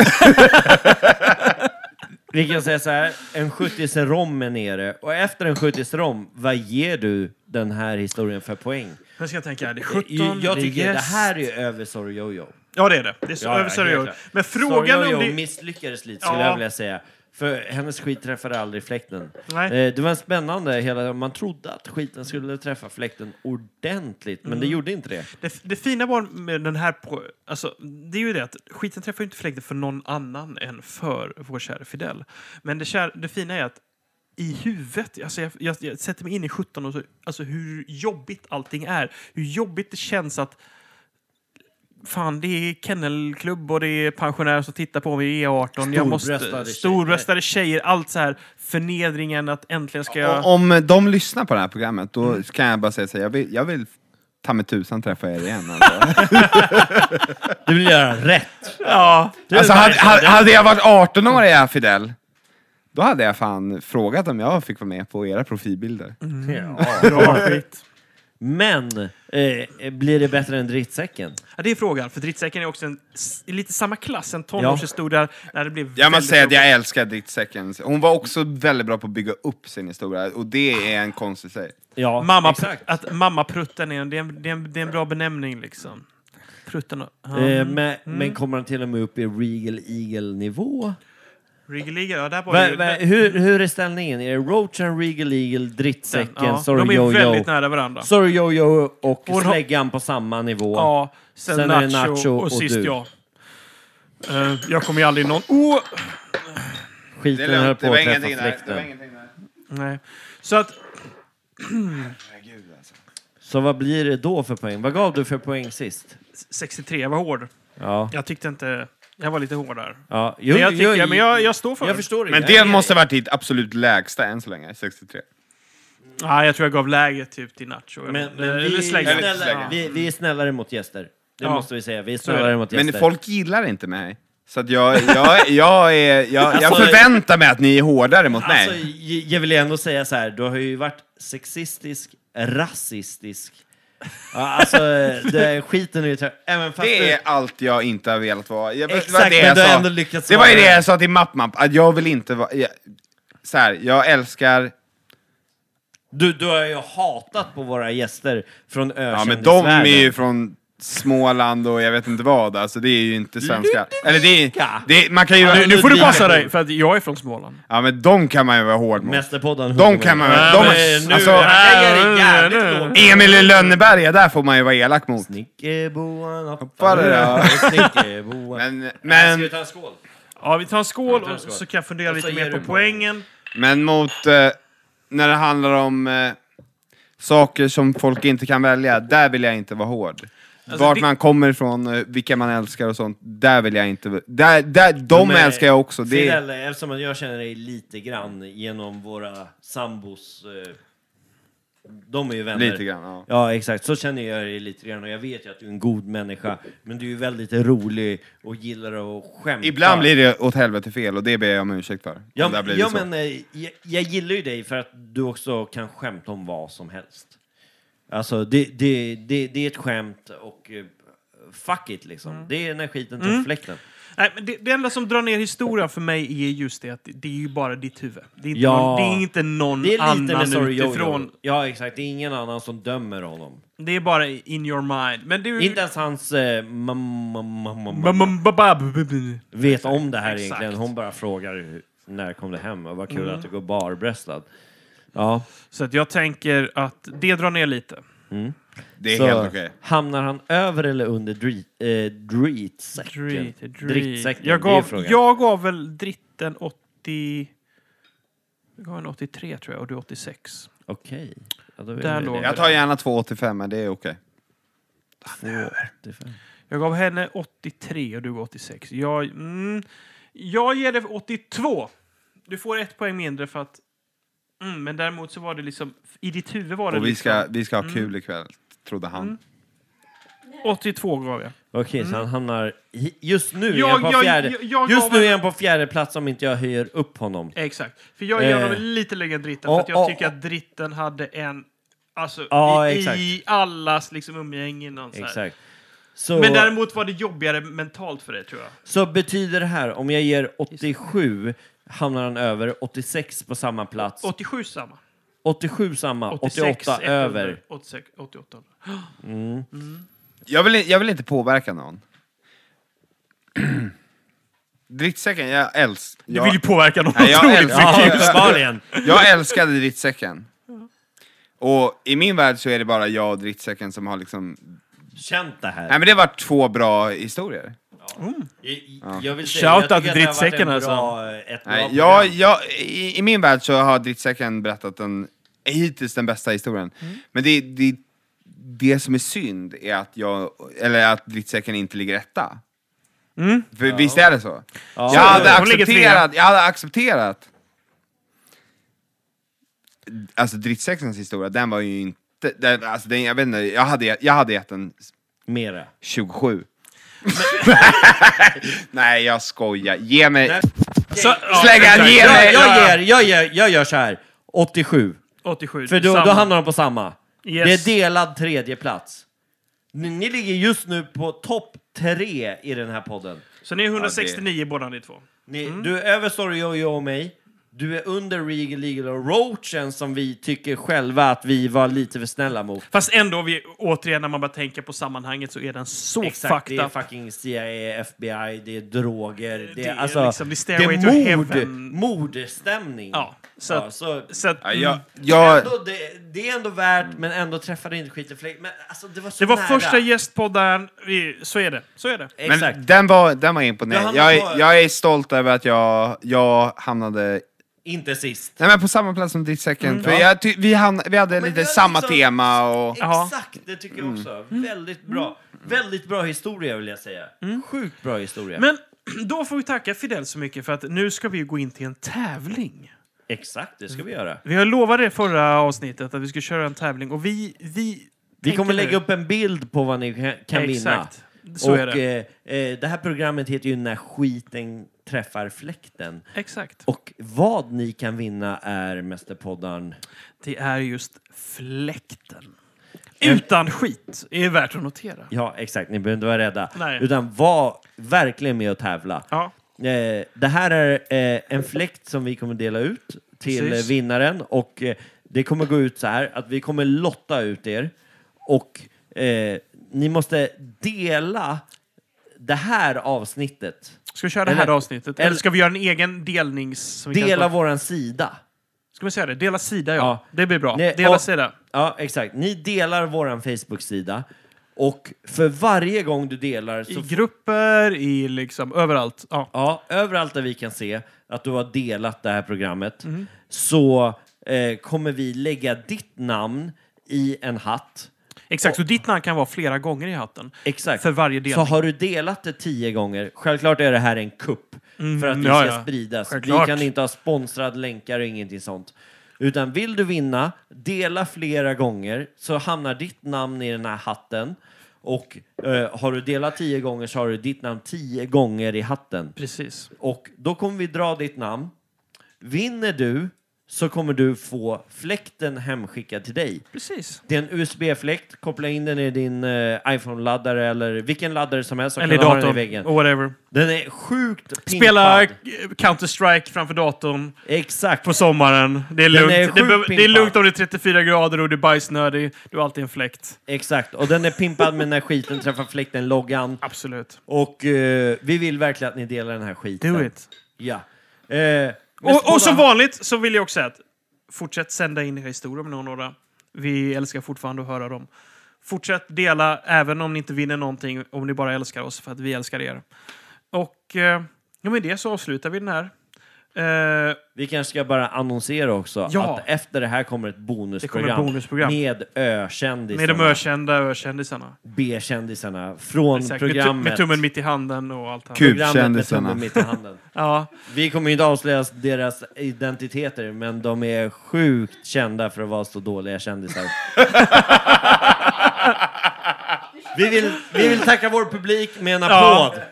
S3: Vi kan säga så här, en 70 rom är nere och efter en 70 rom, vad ger du den här historien för poäng?
S1: Nu ska jag tänka, det är
S3: Jag,
S1: 17,
S3: jag tycker
S1: det är
S3: det
S1: jäst.
S3: här är över Sorry Jojo.
S1: Ja, det är det. Det är så,
S3: Ja, ja,
S1: över så är det
S3: helt
S1: ju.
S3: klart.
S1: Men
S3: Sorry
S1: frågan
S3: Jojo
S1: om det...
S3: misslyckades lite skulle
S1: Ja.
S3: jag vilja säga. För hennes skit träffade aldrig fläkten.
S1: Nej.
S3: Eh, Det var spännande, hela, man trodde att skiten skulle träffa fläkten ordentligt,
S1: Mm.
S3: men det gjorde inte det.
S1: Det, det fina var med den här... På, alltså, det är ju det att skiten träffar ju inte fläkten för någon annan än för vår kära Fidel. Men det, kär, det fina är att i huvudet, alltså jag, jag, jag sätter mig in i 17 och så, alltså hur jobbigt allting är. Hur jobbigt det känns att Fan, det är kennelklubb och det är pensionärer som tittar på mig i E18. Jag
S3: Storbröstade
S1: måste,
S3: tjejer.
S1: storbröstade tjejer. Allt så här förnedringen att äntligen ska jag...
S4: O- Om de lyssnar på det här programmet, då kan jag bara säga så här, jag vill, jag vill ta mig tusan träffa er igen. Alltså,
S3: Du vill göra rätt!
S1: Ja.
S4: alltså hade, hade- hade jag varit 18 år i jag Fidel, då hade jag fan frågat om jag fick vara med på era profilbilder.
S1: Mm. Bra skit.
S3: Men, eh, blir det bättre än drittsäcken?
S1: Ja, det är frågan, för drittsäcken är också en, s- i lite samma klass, en tonårshistoria när det blev
S4: Jag måste
S1: väldigt
S4: säga att jag
S1: jobbigt.
S4: älskar drittsäcken. Hon var också väldigt bra på att bygga upp sin historia, och det är en konst i sig.
S3: Ja,
S1: mamma,
S3: exakt.
S1: att mammaprutten är, en- det är, en- det, är en, det är en bra benämning liksom. Prutten och... Ja.
S3: Eh, men,
S1: Mm.
S3: men kommer han till och med upp i Regal Eagle-nivå?
S1: Regal Eagle, ja, där var
S3: Va,
S1: det ju-
S3: va,
S1: där-
S3: hur, hur är ställningen? Är det Roachan, Regal Eagle, Drittsäcken,
S1: ja,
S3: Sorry
S1: De är
S3: Jojo?
S1: väldigt nära varandra.
S3: Sorry Jojo och
S1: Hon har-
S3: Släggan på samma nivå.
S1: Ja, sen,
S3: Sen är det
S1: nacho,
S3: Nacho
S1: och,
S3: och
S1: sist
S3: du.
S1: jag. Eh, jag kommer ju aldrig någon... Oh!
S3: Skiten höll på att träffa fläkten.
S4: ingenting där.
S1: Nej. Så att...
S4: Herregud alltså.
S3: Så vad blir det då för poäng? Vad gav du för poäng sist?
S1: 63 var hård.
S3: Ja.
S1: Jag tyckte inte... Jag var lite hårdare.
S3: Ja, jo,
S1: men jag, tycker,
S3: jo,
S1: men jag, jag står för
S3: jag
S1: det.
S3: förstår
S4: Men
S3: inte.
S4: det måste ha varit ditt absolut lägsta än så länge, 63.
S1: Ja, jag tror jag gav läget typ till Nacho.
S3: Men, men
S1: Eller
S3: vi, är
S1: släng.
S4: Eller
S3: snällare,
S4: slänga.
S3: vi, vi är snällare mot gäster. Det
S1: Ja.
S3: måste vi säga. Vi
S1: är
S3: är snällare
S1: det.
S3: mot gäster.
S4: Men folk gillar inte mig. Så att jag, jag, jag, är, jag, jag
S3: Alltså-
S4: förväntar mig att ni är hårdare mot mig.
S3: Alltså, j- jag vill ändå säga så här, du har ju varit sexistisk, rasistisk. Ja, alltså, det är skiten är ju... tö- Även fast
S4: Det
S3: du-
S4: är allt jag inte har velat vara. Jag,
S3: Exakt,
S4: det var det
S3: men
S4: jag
S3: du har
S4: sa.
S3: ändå lyckats
S4: Det var ju
S3: vara
S4: det
S3: det.
S4: jag sa till MappMapp, att jag vill inte vara... Jag, så här, jag älskar...
S3: Du, du har ju hatat på våra gäster från
S4: Ja, men
S3: ökändisvärlden.
S4: de är ju från Småland och jag vet inte vad, alltså det är ju inte svenska. Eller det är... Det är man kan ju...
S1: Nu, nu får du
S3: Ludvika.
S1: passa dig, för att jag är från Småland.
S4: Ja, men de kan man ju vara hård mot.
S3: Mästerpodden.
S4: De kan man ju...
S1: Nej,
S4: De,
S1: men nu-
S4: alltså, Emil i Lönneberga, där får man ju vara elak mot.
S3: Snickerboan hoppar
S4: Hoppar, ja.
S3: Snickerboan...
S4: Men,
S3: Ska vi
S4: men,
S3: ta en skål?
S1: Ja, vi tar en skål
S3: tar en skål.
S1: och så kan jag fundera
S3: Och så
S1: lite
S3: ger
S1: mer
S3: du
S1: på
S3: mig.
S1: poängen.
S4: men mot... Eh, när det handlar om eh, saker som folk inte kan välja, där vill jag inte vara hård.
S1: Alltså,
S4: Vart
S1: det-
S4: man kommer ifrån, eh, vilka man älskar och sånt, där vill jag inte... Där, där, de
S3: Men,
S4: älskar jag också. Det,
S3: Fidel, eftersom att jag känner dig lite grann genom våra sambos... eh, De är ju vänner.
S4: Lite grann, ja.
S3: Ja, exakt. Så känner jag dig lite grann. Och jag vet ju att du är en god människa. Men du är ju väldigt rolig och gillar att skämta.
S4: Ibland blir det åt helvete fel och det ber jag om ursäkt för.
S3: Ja,
S4: där blir
S3: ja,
S4: det så.
S3: men eh, jag, jag gillar ju dig för att du också kan skämta om vad som helst. Alltså, det, det, det, det är ett skämt och eh, fuck it liksom.
S1: Mm.
S3: Det är när skiten tar fläkten.
S1: Nej, men det, det enda som drar ner historien för mig är just det att det, det är ju bara ditt huvud. Det är inte
S3: Ja.
S1: någon, det är inte någon
S3: Det är lite med
S1: annan
S3: Sorry
S1: utifrån. Mm.
S3: Jojo. Ja, exakt. Det är ingen annan som dömer honom.
S1: Det är bara in your mind. Men det är ju...
S3: Inte ens hans eh, mamma, mamma,
S1: Ba-
S3: mamma
S1: ba- ba- ba- ba- ba-
S3: vet om det här
S1: Exakt. Mm.
S3: egentligen. Hon bara frågar hur- när kom det hem och vad kul att du går barbröstad. Ja,
S1: Så att jag tänker att det drar ner lite.
S4: Det är
S3: så
S4: helt okej.
S3: hamnar han över eller under dri- eh, dritsäcken?
S1: Drit, drit.
S3: Drittsäcken,
S1: Jag,
S3: det är ju
S1: gav,
S3: frågan.
S1: jag gav väl dritten 80... Jag gav en 83 tror jag och du 86.
S3: Okej. Ja, då är
S1: Där
S3: det
S1: låg
S3: det.
S4: Jag tar gärna 2,85 men det är okej.
S3: Två, 85.
S1: Jag gav henne 83 och du gav 86. Jag, mm, jag ger dig 82. Du får ett poäng mindre för att... Mm, men däremot så var det liksom... I ditt huvud var det
S4: Och vi
S1: liksom,
S4: ska, vi ska ha kul ikväll, trodde han.
S1: 82 liksom- gav jag.
S3: Okej, så han hamnar... i- Just nu
S1: Mm. Jag-
S3: är han på
S1: jag-
S3: fjärde...
S1: jag- jag
S3: just
S1: gav
S3: nu
S1: en-
S3: är han på fjärde plats om inte jag höjer upp honom.
S1: Exakt. För jag ger
S3: Eh.
S1: honom lite längre än dritten.
S3: Ja,
S1: för att jag
S3: ja,
S1: tycker
S3: ja.
S1: att dritten hade en... Alltså
S3: Ja,
S1: i,
S3: exakt.
S1: i allas liksom umgänge. Någon, så här.
S3: Exakt. Så,
S1: Men däremot var det jobbigare mentalt för dig tror jag.
S3: så betyder det här, om jag ger 87 hamnar han över, 86 på samma plats,
S1: 87 samma.
S3: 87 samma,
S1: 86
S3: 88
S1: 100,
S3: över.
S1: 86, 88.
S4: Jag vill, jag vill inte påverka någon. drittsäcken, jag älskar...
S1: Du vill ju påverka någon
S4: Nej, jag
S1: otroligt
S4: älskar-
S1: mycket.
S3: Ja,
S4: Vilken-
S3: uppenbarligen.
S4: Jag älskade drittsäcken. Och i min värld så är det bara jag och drittsäcken som har liksom...
S3: Känt det här.
S4: Nej men det var två bra historier.
S3: I- i- Jag vill säga,
S1: Shout
S3: jag
S1: out
S3: tycker
S1: till
S3: att det har
S1: drittsäcken,
S3: varit
S1: alltså.
S3: en bra, ett bra
S4: Nej,
S3: program.
S4: jag, jag, i, I min värld så har drittsäcken berättat den, hittills den bästa historien.
S1: Mm.
S4: Men det, det, det som är synd är att, jag, eller att drittsäcken inte ligger etta. För visst är det så? Jag,
S1: Så är
S4: hade
S1: det. Mm. Hon ligger
S4: accepterat, jag hade accepterat... Alltså drittsäckens historia, den var ju inte... Den, alltså, den, jag, vet inte, jag, hade, jag hade gett den
S3: Mera.
S4: 27. Nej, jag skojar. Ge mig...
S3: Nej.
S1: Så- ja,
S4: Släggan, ge
S1: exakt.
S4: mig!
S3: Jag, jag, ger, jag, ger, jag gör så här. 87.
S1: 87.
S3: För då, då
S1: samma.
S3: hamnar de på samma.
S1: Yes.
S3: Det är delad tredje plats. Ni, ni ligger just nu på topp tre i den här podden.
S1: Så ni är 169 båda ni två.
S3: Ni,
S1: Mm.
S3: Du är över Sorry Jojo och mig. Du är under Regal Legal och Roachen som vi tycker själva att vi var lite för snälla mot.
S1: Fast ändå, vi, återigen, när man bara tänker på sammanhanget så är den så
S3: Exakt, det
S1: fucked
S3: är
S1: up.
S3: fucking CIA, FBI, det är droger, det,
S1: Det
S3: är
S1: är
S3: alltså...
S1: liksom- det är
S3: det
S1: Stairway to
S3: är mord,
S1: Heaven.
S3: mordstämning.
S1: Ja, så
S3: ja,
S1: att...
S3: så
S1: Så att
S4: Mm. Ja, jag,
S3: Ja.
S4: jag,
S3: Ändå, det, det är ändå värt, men ändå träffade inte skiten fler. Men alltså, det var så
S1: det var
S3: nära.
S1: första gästpodden. Vi, så är det. Så är det.
S4: men
S3: Exakt.
S4: den var, den var
S3: Du
S4: imponerande.
S3: hamnade
S4: Jag,
S3: på-
S4: är- jag är stolt över att jag, jag hamnade
S3: Inte sist.
S4: nej, men på samma plats som drittsäcken.
S3: Mm.
S4: för jag, ty- vi, hamn, vi hade
S3: Men
S4: lite
S3: jag
S4: samma
S3: liksom-
S4: tema och...
S1: Jaha.
S3: Exakt, det
S1: Mm.
S3: tycker jag också. Väldigt bra. Väldigt bra historia vill jag säga. Sjukt bra historia.
S1: Men då får vi tacka Fidel så mycket för att nu ska vi ju gå in till en tävling.
S3: Exakt, det ska vi göra.
S1: Vi har lovat det förra avsnittet att vi ska köra en tävling och vi... Vi,
S3: Vi
S1: tänker
S3: kommer
S1: nu-
S3: lägga upp en bild på vad ni kan- kan vinna.
S1: Exakt. Så
S3: och
S1: är det.
S3: eh, eh, det här programmet heter ju När skiten träffar fläkten.
S1: Exakt.
S3: Och vad ni kan vinna är Mästerpoddaren.
S1: Det är just fläkten. Utan skit är värt att notera.
S3: Ja, exakt. Ni behöver inte vara rädda.
S1: Nej.
S3: Utan var verkligen med och tävla.
S1: Ja.
S3: Eh, det här är eh, en fläkt som vi kommer dela ut till
S1: Precis.
S3: eh, vinnaren. Och eh, det kommer gå ut så här att vi kommer lotta ut er. Och eh, ni måste dela det här avsnittet.
S1: Ska vi köra det här
S3: Eller-
S1: avsnittet? Eller
S3: eller-
S1: ska vi göra en egen delnings... Som vi kallar
S3: Dela
S1: det?
S3: våran sida.
S1: Ska vi säga det? Dela sida, ja.
S3: Ja.
S1: Det blir bra.
S3: Nej,
S1: Dela
S3: och-
S1: sida.
S3: Ja, exakt. Ni delar våran Facebook-sida. Och för varje gång du delar
S1: I
S3: så...
S1: grupper, i liksom överallt. Ja.
S3: Ja, överallt där vi kan se att du har delat det här programmet
S1: Mhm.
S3: så eh, kommer vi lägga ditt namn i en hatt.
S1: Exakt, så ditt namn kan vara flera gånger i hatten.
S3: Exakt.
S1: För varje
S3: Så
S1: delning.
S3: har du delat det tio gånger, självklart är det här en kupp för att det
S1: Mm, ja,
S3: ska
S1: ja.
S3: spridas.
S1: Självklart.
S3: Vi kan inte ha sponsrad länkar och ingenting sånt. Utan vill du vinna, dela flera gånger så hamnar ditt namn i den här hatten. Och eh, har du delat tio gånger så har du ditt namn tio gånger i hatten.
S1: Precis.
S3: Och då kommer vi dra ditt namn. Vinner du så kommer du få fläkten hemskickad till dig.
S1: Precis.
S3: Det är en USB-fläkt. Koppla in den i din eh, iPhone-laddare eller vilken laddare som helst. så
S1: Eller
S3: kan du ha den i
S1: datorn.
S3: väggen.
S1: Och whatever.
S3: Den är sjukt pimpad.
S1: Spela eh, Counter-Strike framför datorn
S3: Exakt.
S1: på sommaren. Det är
S3: Den är
S1: lugnt.
S3: sjukt
S1: det, behöver- det är
S3: pimpad.
S1: lugnt om det är 34 grader och du är bajsnödig. Du har alltid en fläkt.
S3: Exakt. Och den är pimpad med när skiten träffar fläkten, loggan.
S1: Absolut.
S3: Och eh, vi vill verkligen att ni delar den här skiten.
S1: Do it.
S3: Ja. Eh,
S1: Och, och som
S3: vad?
S1: vanligt så vill jag också säga att fortsätt sända in era historier om ni har några. Vi älskar fortfarande att höra dem. Fortsätt dela även om ni inte vinner någonting, om ni bara älskar oss för att vi älskar er. Och eh, ja, med det så avslutar vi den här. Eh,
S3: Vi kanske ska bara annonsera också
S1: Ja.
S3: att efter det här kommer ett bonusprogram,
S1: Det kommer ett bonusprogram.
S3: med
S1: med de
S3: ökändisarna,
S1: ökända ökändisarna.
S3: B-kändisarna från
S1: Exakt, Med, tu-
S3: programmet.
S1: med tummen mitt i handen och allt annat.
S4: Kul.
S3: Programmet med
S4: Kubkändisarna.
S3: tummen mitt i handen.
S1: Ja,
S3: Vi kommer ju inte avslöja deras identiteter, men de är sjukt kända för att vara så dåliga kändisar. vi, vill, vi vill tacka vår publik med en applåd.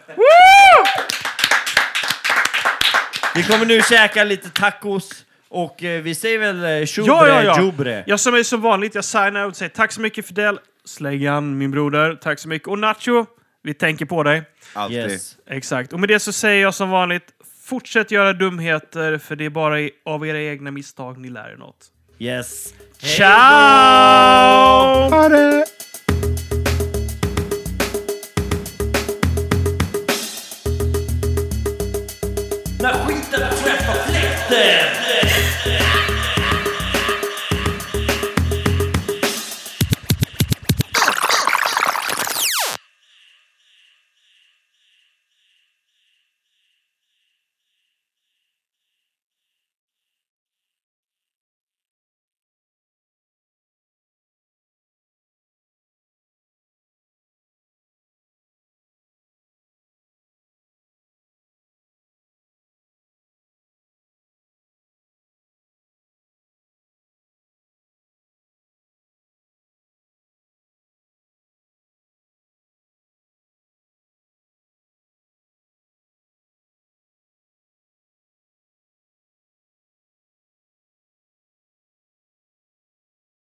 S3: Vi kommer nu käka lite tacos och eh, vi säger väl eh, tjobre,
S1: ja, ja. ja.
S3: tjobre.
S1: Jag som är som vanligt, jag signar ut och säger tack så mycket Fidel. Släggan, min broder. Tack så mycket. Och Nacho, vi tänker på dig.
S4: Alltid.
S3: Yes.
S1: Exakt. Och med det så säger jag som vanligt, fortsätt göra dumheter, för det är bara i- av era egna misstag ni lär er något.
S3: Yes.
S1: Ciao!
S3: När skiten träffar fläkten!